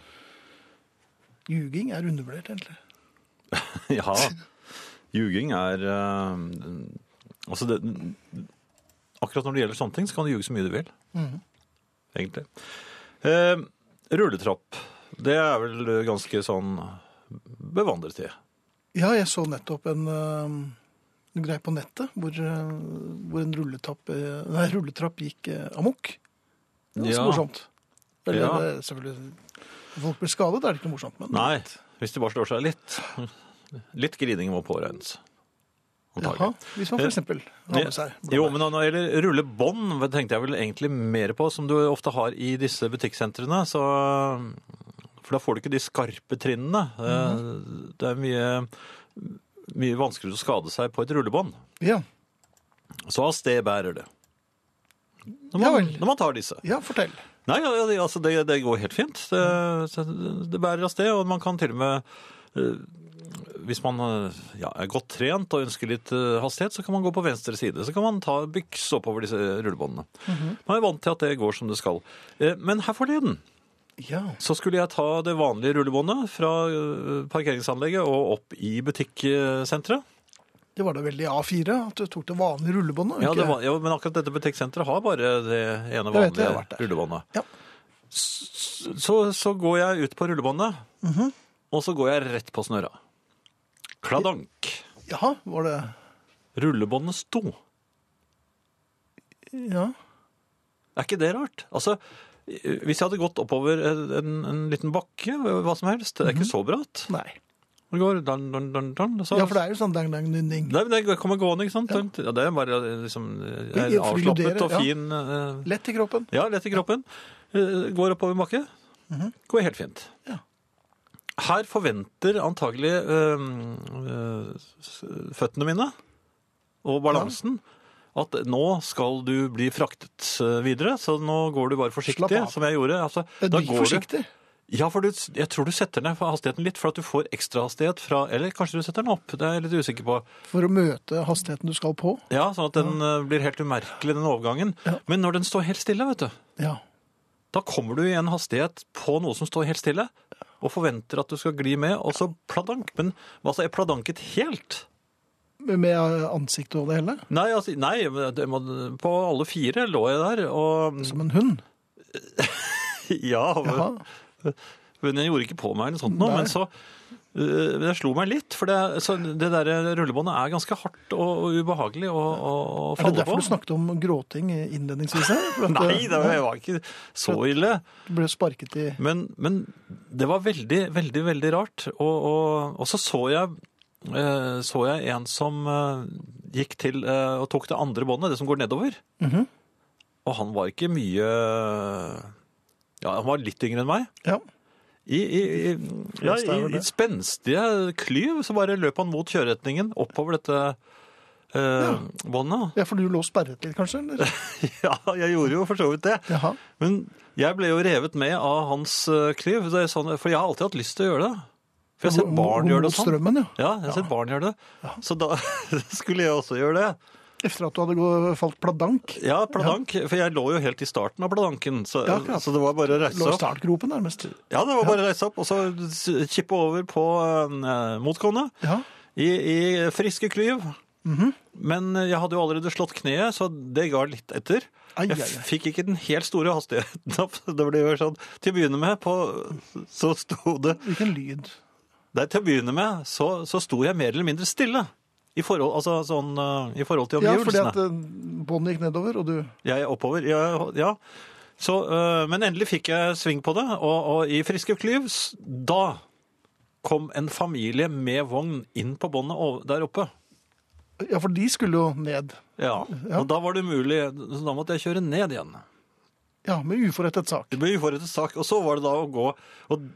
A: ljuging er undervurdert, egentlig.
B: (laughs) Ja. Ljuging er eh, Altså, det, akkurat når det gjelder sånne ting, så kan du ljuge så mye du vil. Egentlig. Eh, rulletrapp. Det er vel ganske sånn bevandret i.
A: Ja, jeg så nettopp en, eh, en greie på nettet hvor, eh, hvor en rulletrapp, eh, nei, rulletrapp gikk eh, amok. Det var så
B: Ja.
A: morsomt. Eller
B: Ja.
A: det er selvfølgelig når Folk blir skadet, er det ikke noe morsomt, men
B: Nei, hvis de bare slår seg litt. Litt grining må påregnes.
A: Jaha,
B: Antagelig.
A: hvis man for eksempel har med seg blåbær.
B: Jo, men når det gjelder rullebånd, tenkte jeg vel egentlig mer på, som du ofte har i disse butikksentrene. Så, for da får du ikke de skarpe trinnene.
A: Mhm.
B: Eh, Det er mye, mye vanskeligere å skade seg på et rullebånd.
A: ja.
B: Så av sted bærer det.
A: Ja
B: Når man,
A: vel.
B: når man tar disse.
A: ja, fortell.
B: Nei, ja, ja, det- altså det, det går helt fint. Det, så det bærer av sted, og man kan til og med eh, hvis man eh, ja, er godt trent og ønsker litt eh, hastighet, så kan man gå på venstre side. Så kan man ta byks oppover disse eh, rullebåndene. Man er vant til at det går som det skal. Eh, Men her forleden
A: Ja.
B: så skulle jeg ta det vanlige rullebåndet fra eh, parkeringsanlegget og opp i butikksenteret.
A: Det var da veldig A4 at du tok det vanlige rullebåndet.
B: Ja,
A: ikke?
B: det var, ja, men akkurat dette butikksenteret har bare det ene
A: Jeg vet det, jeg har
B: vanlige
A: vært der.
B: rullebåndet.
A: Ja.
B: S- Så, så går jeg ut på rullebåndet,
A: Mhm.
B: og så går jeg rett på snøra. Kladank.
A: Jaha, var det
B: Rullebåndet sto.
A: Ja.
B: Er ikke det rart? Altså, hvis jeg hadde gått oppover en, en liten bakke, hva som helst, det er ikke så bratt.
A: Nei.
B: Det går dan, dan, dan, dan, så,
A: Mhm. Ja, for det er jo sånn dang, dang, ding, ding.
B: Nei, men det kommer gående, ikke sant? Ja, det er bare liksom,
A: Ja, for
B: jeg er
A: du
B: avslappet
A: inkluderer,
B: og
A: ja.
B: fin. eh,
A: Lett i kroppen.
B: Ja, lett i kroppen. Eh, Går oppover en bakke. Går helt fint.
A: Mhm. Ja.
B: Her forventer antagelig eh, eh, s- føttene mine og balansen at nå skal du bli fraktet eh, videre, så nå går du bare
A: Slapp
B: forsiktig,
A: av. Eh,
B: som jeg gjorde. Altså,
A: Du
B: da
A: gikk
B: går du-
A: forsiktig.
B: ja, for du, jeg tror du setter ned hastigheten litt, for at du får ekstrahastighet fra Eller kanskje du setter den opp, det er jeg litt usikker på.
A: For å møte hastigheten du skal på.
B: Ja, Sånn at den eh, blir helt umerkelig, den overgangen. Men når den står helt stille, vet du,
A: Ja.
B: da kommer du i en hastighet på noe som står helt stille, og forventer at du skal gli med, og så pladank. Men hva altså, er pladanket helt?
A: med ansiktet og det hele?
B: Nei, altså, nei men det må- på alle fire lå jeg der, og (laughs)
A: Som en hund?
B: ja,
A: Jaha.
B: men jeg gjorde ikke på meg eller sånt nå,
A: Nei.
B: men så øh, det slo meg litt, for det, så det der rullebåndet er ganske hardt og, og ubehagelig å, å, å
A: Er det
B: falle
A: derfor
B: på.
A: du snakket om gråting innledningsvis her? For at eh,
B: Nei, det var, var ikke så ille.
A: Du ble sparket i
B: Men, men det var veldig, veldig, veldig rart. Og, og, og så så jeg, eh, så jeg en som eh, gikk til eh, og tok det andre båndet, det som går nedover.
A: Mhm.
B: Og han var ikke mye Ja, han var litt yngre enn meg.
A: Ja.
B: I, i, i, ja,
A: fleste
B: i,
A: er vel
B: i
A: det.
B: spenstige klyv så bare løp han mot kjøreretningen oppover dette eh, båndet.
A: Ja, for du lå sperret litt, kanskje?
B: (laughs)
A: Eller?
B: Ja, jeg gjorde jo for så vidt det.
A: Jaha.
B: Men jeg ble jo revet med av hans eh, klyv, det er sånn, for jeg har alltid hatt lyst til å gjøre det. For jeg har sett Altså, barn gjøre det
A: Mot
B: og sånn.
A: strømmen, ja.
B: Ja, jeg har sett barn gjøre det. Så da (laughs) skulle jeg også gjøre det.
A: Etter at du hadde gå- falt pladank.
B: Ja, pladank, for jeg lå jo helt i starten av pladanken, så,
A: Ja, akkurat.
B: så det var bare å reise
A: Lå i
B: opp.
A: startgropen, nærmest.
B: Ja, det var bare å reise opp, og så s- kippe over på eh, motgående
A: Ja.
B: i, i friske klyv.
A: Mhm.
B: Men jeg hadde jo allerede slått kneet, så det ga litt etter.
A: Ai,
B: Jeg
A: ai, ai.
B: fikk ikke den helt store hastigheten opp. (laughs) Det ble jo sånn, til å begynne med, på, så sto det
A: Hvilken lyd.
B: Nei, til å begynne med så, så sto jeg mer eller mindre stille. I forhold, altså, sånn, eh, i forhold til
A: Ja, fordi
B: omgivelsene.
A: at eh, båndet gikk nedover, og du
B: Jeg er oppover. Ja, ja. Så, eh, men endelig fikk jeg sving på det, og, og i friske klyv s- Da kom en familie med vogn inn på båndet o- der oppe.
A: Ja, for de skulle jo ned.
B: Ja,
A: Ja.
B: Og da var det umulig, så da måtte jeg kjøre ned igjen.
A: Ja, med uforrettet sak.
B: Det ble uforrettet sak. Og så var det da å gå og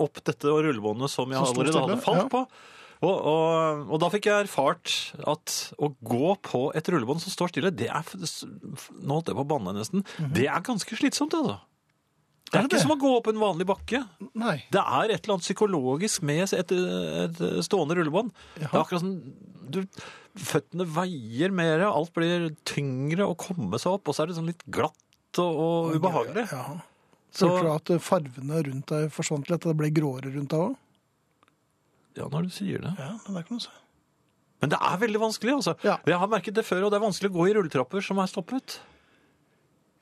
B: opp dette rullebåndet som jeg
A: Som sto
B: allerede
A: stille,
B: hadde falt
A: ja.
B: på. Og, og, og da fikk jeg erfart at å gå på et rullebånd som står stille, det er f- s- f- Nå holdt jeg på å banne nesten. Det er ganske slitsomt, altså.
A: Mhm.
B: Det
A: Er
B: er
A: det
B: ikke
A: det?
B: som å gå opp en vanlig bakke.
A: Nei.
B: Det er et eller annet psykologisk med et, et stående rullebånd. Det er akkurat som du, føttene veier mer, alt blir tyngre å komme seg opp, og så er det sånn litt glatt og, og ubehagelig.
A: Ja.
B: Så-
A: Følte du at eh, farvene rundt deg forsvant litt, og det ble gråere rundt deg òg?
B: Ja, når du sier det.
A: Ja, men det kan du si.
B: Men det er veldig vanskelig, altså.
A: Ja.
B: Jeg har merket det før, og det er vanskelig å gå i rulletrapper som er stoppet.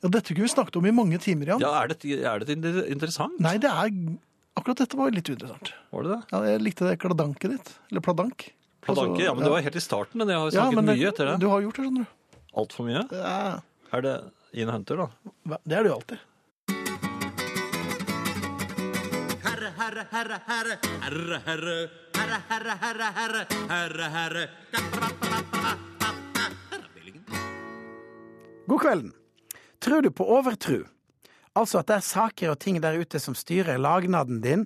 A: Ja, dette kunne vi snakket om i mange timer, Jan.
B: Ja, er dette, er dette inter- interessant?
A: Nei, det er Akkurat dette var litt uinteressant.
B: Var det det?
A: Ja, jeg likte det kladanket ditt. Eller pladank.
B: Pladanke,
A: Altså,
B: ja, men det var helt i starten, men jeg har jo
A: Ja,
B: snakket
A: men
B: mye etter
A: Du
B: det.
A: har gjort det, skjønner du.
B: Alt for mye?
A: Det er,
B: Er det Ine Hunter, da?
A: det er det jo alltid.
K: God kvelden. Tror du på overtro? Altså at det er saker og ting der ute som styrer lagnaden din,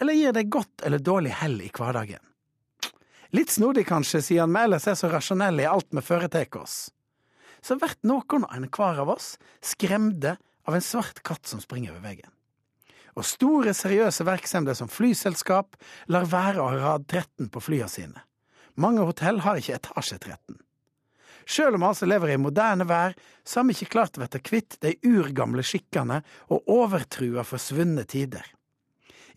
K: eller gir deg godt eller dårlig hell i hverdagen? Litt snodig kanskje, siden vi ellers er så rasjonelle i alt vi foretar oss. Så blir noen og enhver av oss skremde av en svart katt som springer over veien. Og store, seriøse virksomheter som flyselskap lar være å ha rad 13 på flyene sine. Mange hotell har ikke etasje 13. Sjøl om vi altså lever i moderne vær, så har vi ikke klart å bli kvitt de urgamle skikkene og overtrua forsvunne tider.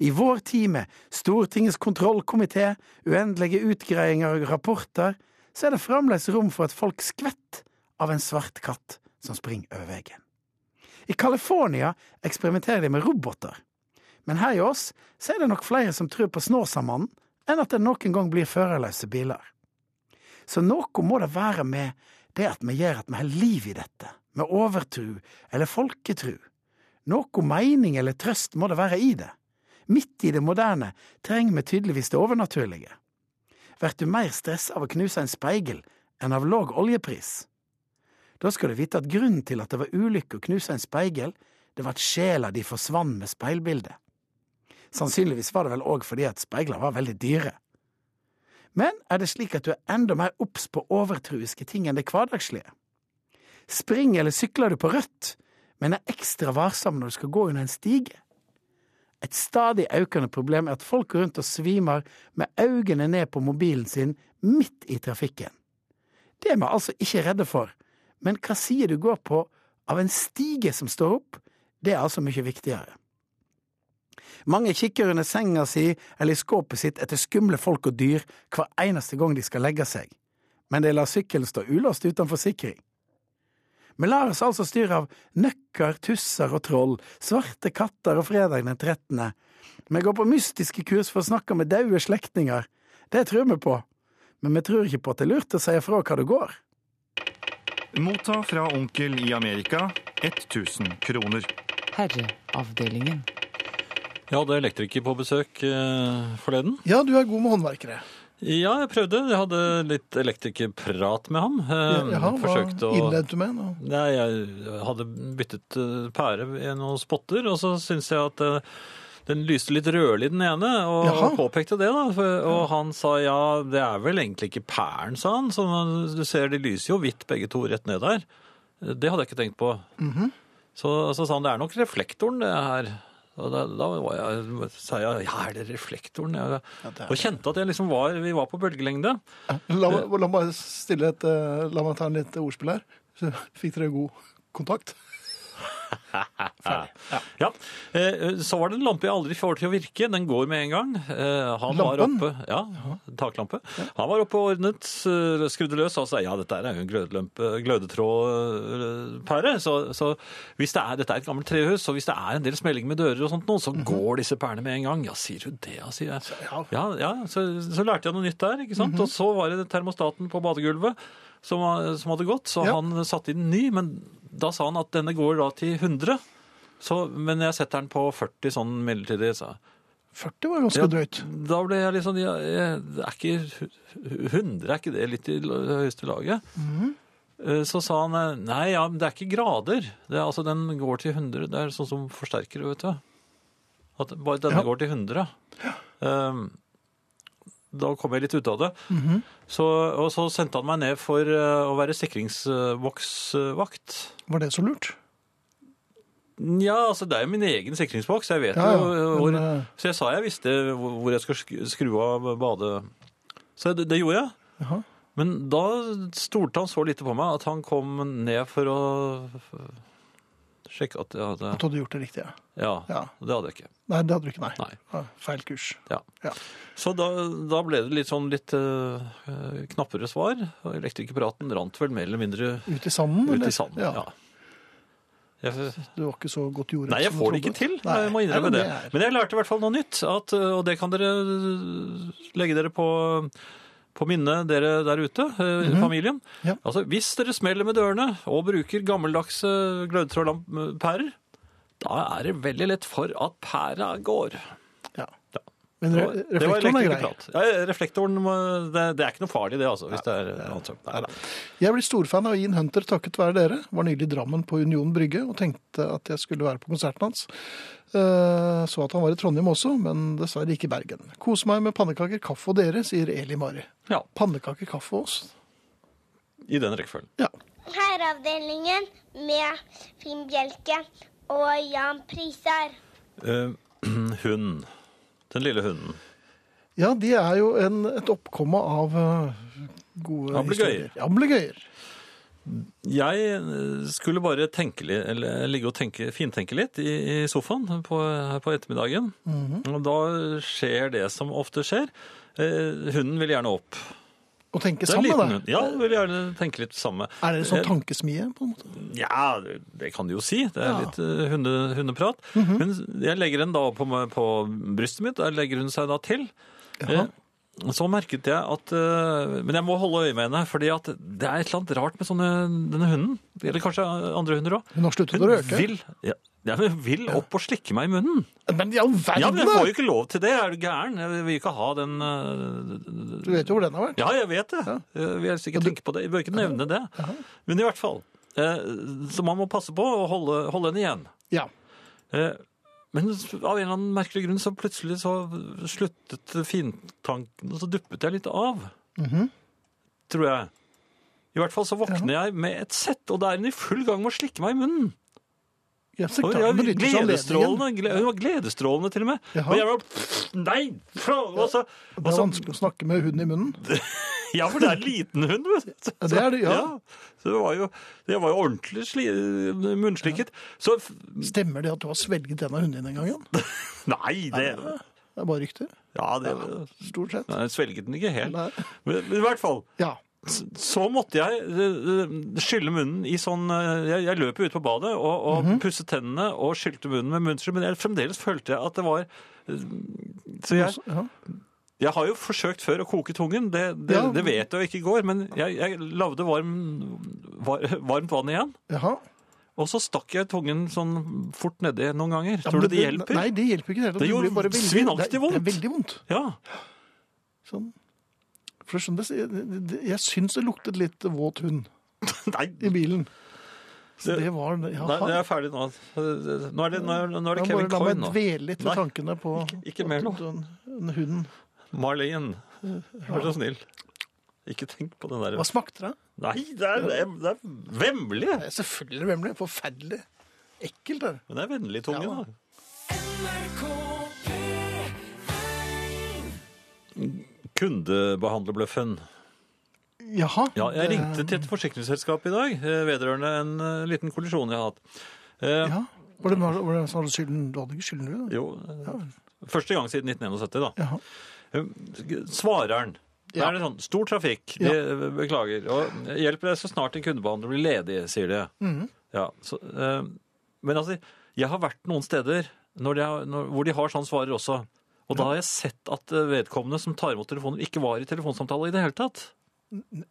K: I vår tid med Stortingets kontrollkomité, uendelige utgreiinger og rapporter, så er det fremdeles rom for at folk skvetter av en svart katt som springer over veien. I California eksperimenterer de med roboter. Men her i oss så er det nok flere som tror på Snåsamannen enn at det noen gang blir førerløse biler. Så noe må det være med det at vi gjør at vi har liv i dette, med overtru eller folketru. Noe mening eller trøst må det være i det. Midt i det moderne trenger vi tydeligvis det overnaturlige. Blir du mer stressa av å knuse en speigel enn av låg oljepris? Da skal du vite at grunnen til at det var ulykke å knuse en speigel, det var at sjela di forsvant med speilbildet. Sannsynligvis var det vel òg fordi at speigler var veldig dyre. Men er det slik at du er enda mer obs på overtruiske ting enn det hverdagslige? Springer eller sykler du på rødt, men er ekstra varsom når du skal gå under en stige? Et stadig økende problem er at folk går rundt og svimer med øynene ned på mobilen sin midt i trafikken. Det er vi altså ikke redde for, men hva side du går på av en stige som står opp, det er altså mye viktigere. Mange kikker under senga si eller i skåpet sitt etter skumle folk og dyr hver eneste gang de skal legge seg.
L: men de lar sykkelen stå ulåst uten forsikring. Vi lar oss altså styre av nøkker, tusser og troll, svarte katter og fredag den 13. Vi går på mystiske kurs for å snakke med daue slektninger. Det tror vi på. Men vi tror ikke på at det er lurt å si fra hva det går.
D: Motta fra onkel i Amerika 1000 kroner.
E: Herreavdelingen.
B: Jeg hadde elektriker på besøk eh, forleden.
A: Ja, du er god med håndverkere.
B: Ja, jeg prøvde. Jeg hadde litt elektrikerprat med ham. Eh,
A: Jaha, hva
B: forsøkte å
A: innledet du med? nå?
B: Nei, jeg hadde byttet eh, pære i noen spotter, og så syntes jeg at eh, den lyste litt rødlig, den ene, og
A: Jaha.
B: påpekte det. da. For- Og han sa ja, det er vel egentlig ikke pæren, sa han. Så man- du ser de lyser jo hvitt begge to rett ned der. Det hadde jeg ikke tenkt på.
A: Mhm.
B: så, så sa han det er nok reflektoren det her. Og da, da var jeg, sa jeg ja, er det reflektoren? Ja,
A: det er
B: og kjente at jeg liksom var, vi var på bølgelengde.
A: La, meg- la meg bare stille et, eh, la meg ta en litt ordspill her. Så fikk dere god kontakt.
B: Ja, eh, Så var det en lampe jeg aldri får til å virke. Den går med en gang. Eh, Han var
A: Lampen?
B: oppe, ja, taklampe. Han var oppe og ordnet, eh, skrudde løs og sa ja, dette er jo en glødelampe, glødetrådpære. Så, så hvis det er, dette er et gammelt trehus, og hvis det er en del smelling med dører og sånt nå, så går disse pærene med en gang. Ja, sier du det, ja, sier jeg.
A: Mhm. Ja. Mhm.
B: Ja, ja så, så lærte jeg noe nytt der, ikke sant. Og så var det termostaten på badegulvet som, var- som hadde gått, så
A: Ja.
B: han satte inn ny, men da sa han at denne går da til 100. Så, men jeg setter den på 40 sånn midlertidig. sa jeg.
A: 40 var ganske
B: Ja.
A: drøyt.
B: Da ble jeg litt sånn ja, jeg, det er ikke, 100 er ikke det litt i l- høyeste laget?
A: Mhm.
B: Eh, Så sa han eh, nei, ja, men det er ikke grader. Det er, altså, den går til 100. Det er sånn som forsterker, vet du. At bare denne
A: Ja.
B: går til 100. Um, da kom jeg litt ut av det.
A: Mhm.
B: så, og så sendte han meg ned for eh, å være sikringsboksvakt.
A: Var det så lurt?
B: Ja, altså det er jo min egen sikringsboks. Jeg vet
A: Ja, ja,
B: jo hvor
A: men, eh,
B: Så jeg sa jeg visste hvor hvor jeg skulle sk- skru av bade... Så det, det gjorde jeg.
A: Jaha.
B: Men da stolte han så lite på meg at han kom ned for å sjekke at jeg hadde
A: At du hadde gjort det riktige.
B: Ja,
A: Ja.
B: det hadde jeg ikke.
A: Nei, det hadde du ikke, nei.
B: Nei.
A: Ja, Feil kurs.
B: Ja.
A: Ja.
B: Så da, da ble det litt sånn litt eh, knappere svar. Og elektrikerpraten rant vel mer eller mindre
A: Ut i sanden?
B: ut
A: eller?
B: i sanden.
A: Ja.
B: Ja. Jeg,
A: Du var ikke så godt jordet.
B: Nei, jeg
A: som du
B: får det ikke
A: trodde.
B: til.
A: Nei,
B: Jeg må innrømme
A: nei,
B: det.
A: er-
B: Men jeg lærte i hvert fall noe nytt, at, og det kan dere legge dere på, på minnet, dere der ute, eh, familien.
A: Mhm. Ja.
B: Altså, hvis dere smeller med dørene og bruker gammeldagse glødetrådpærer, da er det veldig lett for at pæra går.
A: Ja. Men re
B: Det var- det var
A: reflektoren er grei.
B: elektrikerprat. Ja, reflektoren må- det, det er ikke noe farlig, det, altså. Hvis det er ansomt. Nei.
A: Jeg blir storfan av Ian Hunter takket være dere. Var nylig i Drammen på Union Brygge og tenkte at jeg skulle være på konserten hans. Eh, Så at han var i Trondheim også, men dessverre ikke i Bergen. Kose meg med pannekaker, kaffe og dere, sier Eli Mari.
B: Ja,
A: Pannekaker, kaffe og oss?
B: I den rekkefølgen.
A: Ja.
M: Herreavdelingen med Finn Bjelke og Jan Prisar.
B: Eh, (clears throat) hund. Den lille hunden.
A: Ja, de er jo en, et oppkomme av eh, gode
B: Ablegøyer.
A: historier. Ablegøyer.
B: Jeg eh, skulle bare tenke, li- eller eh, ligge og tenke, fintenke litt i, i sofaen på, her på ettermiddagen.
A: Mhm.
B: Og da skjer det som ofte skjer. Eh, hunden vil gjerne opp.
A: Å tenke
B: Det er en
A: sammen,
B: liten
A: da.
B: hund. Ja, vil gjerne tenke litt samme.
A: Er det en sånn tankesmie, på en måte?
B: Ja, det- det kan du jo si. Det er
A: Ja.
B: litt eh, hunde, hundeprat. Men jeg legger den da på, meg- på brystet mitt, der legger hun seg da til. Eh, Så merket jeg at eh, Men jeg må holde øye med henne, fordi at det er et eller annet rart med sånne, denne hunden. Eller kanskje andre hunder òg.
A: Hun har sluttet
B: Hun
A: å røke.
B: vil, ja, ja, men hun vil opp og slikke meg i munnen.
A: Men i all
B: Ja,
A: verden!
B: men jeg får
A: da!
B: jo ikke lov til det. Er du gæren? Jeg vil ikke ha den øh,
A: Du vet jo hvor den har vært.
B: Ja, jeg vet det. Eh, Jeg vil helst ikke tenke på det. Jeg bør ikke nevne det. Men i hvert fall. eh, Så man må passe på å holde, holde henne igjen.
A: Ja.
B: Eh, Men av en eller annen merkelig grunn så plutselig så sluttet fintanken, og så duppet jeg litt av.
A: Mhm.
B: Tror jeg. I hvert fall så våkner jeg med et sett, og da er hun i full gang med å slikke meg i munnen.
A: Ja, så
B: Og
A: klart hun
B: jeg-
A: benytter seg av anledningen.
B: gledestrålende, gle- Hun var gledestrålende til og med.
A: sånn Jaha.
B: Og jeg var Nei! faen, Og så,
A: Det
B: og
A: er
B: så,
A: vanskelig å snakke med hunden i munnen.
B: ja, for det er en liten hund. vet du.
A: Ja, det er det, ja.
B: Så det var jo, det var jo ordentlig sli, munnslikket. Så f-
A: Stemmer det at du har svelget en av hundene dine en gang? Jan?
B: Nei, det
A: Det er bare rykter.
B: Ja, det
A: Stort sett.
B: Nei, jeg svelget den ikke helt.
A: Nei.
B: Men, men i hvert fall.
A: Ja.
B: så måtte jeg eh, skylle munnen i sånn eh, Jeg, jeg løp jo ut på badet og, og
A: Mhm.
B: pusset tennene og skylte munnen med munnskyld, men jeg fremdeles følte jeg at det var eh, Så jeg,
A: Ja.
B: jeg har jo forsøkt før å koke tungen, det, det,
A: Ja.
B: det vet jeg jo ikke går, men jeg, jeg lagde varm, var, varmt vann igjen.
A: Jaha.
B: Og så stakk jeg tungen sånn fort nedi noen ganger.
A: Ja,
B: Tror du
A: men
B: det hjelper?
A: Nei, det hjelper ikke. i hele tatt.
B: Det
A: Du
B: gjorde
A: blir bare veldig-
B: svinaktig
A: det er- Det er
B: vondt.
A: veldig vondt. (laughs)
B: Ja.
A: Sånn. For sånn skjønner, jeg, jeg- jeg syns det luktet litt våt hund
B: Nei,
A: i bilen. Så
B: Det-
A: det var
B: Nei,
A: Jaha.
B: jeg er ferdig nå. Nå er det, nå er, nå er det
A: Da
B: Kevin
A: bare la meg
B: Coyne nå.
A: dvele litt ved
B: Nei,
A: tankene på
B: ikke- ikke mer
A: at
B: nå.
A: den- den Hunden.
B: Marlene, vær så snill. Ikke tenk på den der.
A: Hva smakte det?
B: Nei, det er, det er- det er vemmelig.
A: Det er Selvfølgelig vemmelig. Forferdelig. Ekkelt er det.
B: Men det er vennlig tunge,
A: Ja, da.
B: da. Kundebehandlerbløffen.
A: Jaha.
B: Ja, jeg
A: det-
B: ringte til et forsikringsselskap i dag eh, vedrørende en eh, liten kollisjon jeg har hatt. Eh,
A: Ja. Var det, var det, var det, var det skylden? Du hadde ikke skylden, du? da?
B: Jo, eh, første gang siden 1971, da.
A: Jaha.
B: Svareren. Da
A: Ja.
B: er det sånn, Stor trafikk, de beklager. Og hjelp deg så snart en kundebehandler blir ledig, sier de. Ja, så, eh, men altså, jeg har vært noen steder når de har, når, hvor de har sånn svarer også. Og da har jeg sett at eh, vedkommende som tar imot telefonen, ikke var i telefonsamtale i det hele tatt.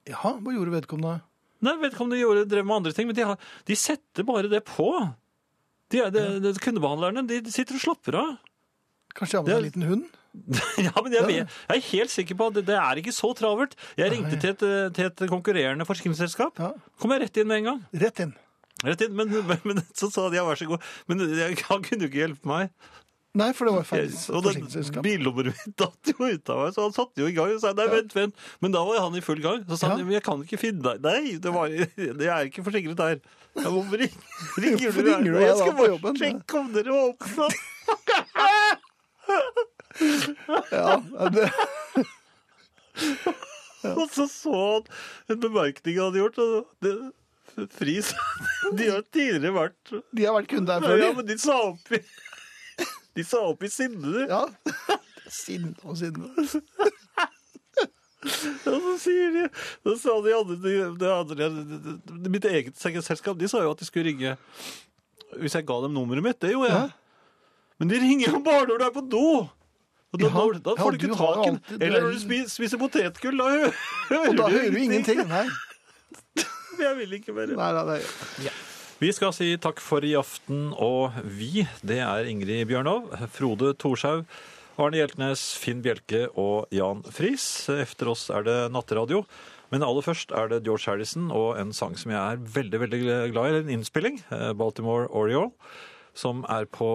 A: Jaha, hva gjorde vedkommende?
B: Nei, vedkommende gjorde, drev med andre ting, men de, har, de setter bare det på. De, er- de, de, kundebehandlerne de sitter og slapper av.
A: Kanskje han var en
B: Det-
A: liten hund?
B: (laughs) Ja, men jeg, vet- jeg er helt sikker på at det, det er ikke så travelt. Jeg ringte til et, eh, til et konkurrerende forsikringsselskap.
A: Ja.
B: Kom jeg rett inn med en gang.
A: Rett inn.
B: Rett inn, men, men, men (laughs) så sa de ja, vær så god. Men jeg, han kunne jo ikke hjelpe meg.
A: Nei, for det var
B: Jeg,
A: faktisk
B: og den
A: forsikringsselskap.
B: bilnummeret mitt datt jo ut av meg, så han satte jo i gang og sa nei, vent, vent. Men da var han i full gang. Så sa han
A: Ja.
B: men jeg kan ikke finne deg. Nei, det var, (laughs) jeg er ikke forsikret her. Ja, hvorfor ring-
A: (laughs)
B: ringer
A: Hvorfor
B: du her?
A: ringer du
B: nå? Jeg
A: meg da
B: skal
A: på
B: bare
A: jobben?»
B: sjekke om dere var åpne.
A: Ja, ja, det,
B: (laughs) Og så så han en bemerkning han hadde gjort. Og det, fris (laughs) De har tidligere vært
A: de har vært kunde her før,
B: Ja,
A: de.
B: men de sa opp i (laughs) De sa opp i sinne,
A: Ja. (laughs) Sinn og sinne.
B: og så sier de Da sa de andre, de, de andre de, de, Mitt eget selskap, de sa jo at de skulle ringe Hvis jeg ga dem nummeret mitt, det gjorde jeg.
A: Ja.
B: Men de ringer jo bare når du er på do! Og da,
A: Ja,
B: når- da
A: ja,
B: får du
A: du
B: ikke
A: har
B: tak i den.
A: alltid- du er-
B: Eller når du spiser, spiser potetgull, da hø- hører,
A: Og da hører
B: du
A: du ingenting. Nei.
B: Jeg vil ikke mer.
A: Nei, nei, nei.
B: Vi skal si takk for i aften, og vi, det er Ingrid Bjørnov, Frode Thorshaug, Arne Hjeltnes, Finn Bjelke og Jan Friis. Efter oss er det natteradio. Men aller først er det George Harrison og en sang som jeg er veldig veldig glad i, en innspilling, eh, Baltimore Oriole, som er på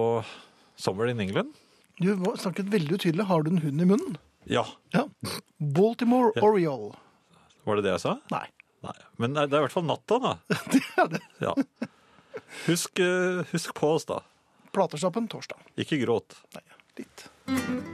B: Somewhere in England.
A: Du var- snakket veldig utydelig. Har du en hund i munnen?
B: Ja,
A: Ja. Baltimore Oriole.
B: var det det jeg sa?
A: Nei.
B: Nei. Men det er i hvert fall natta, da.
A: (laughs) Det er det.
B: Ja. Husk, eh, husk på oss, da.
A: Platerstappen torsdag.
B: Ikke gråt.
A: Nei, litt.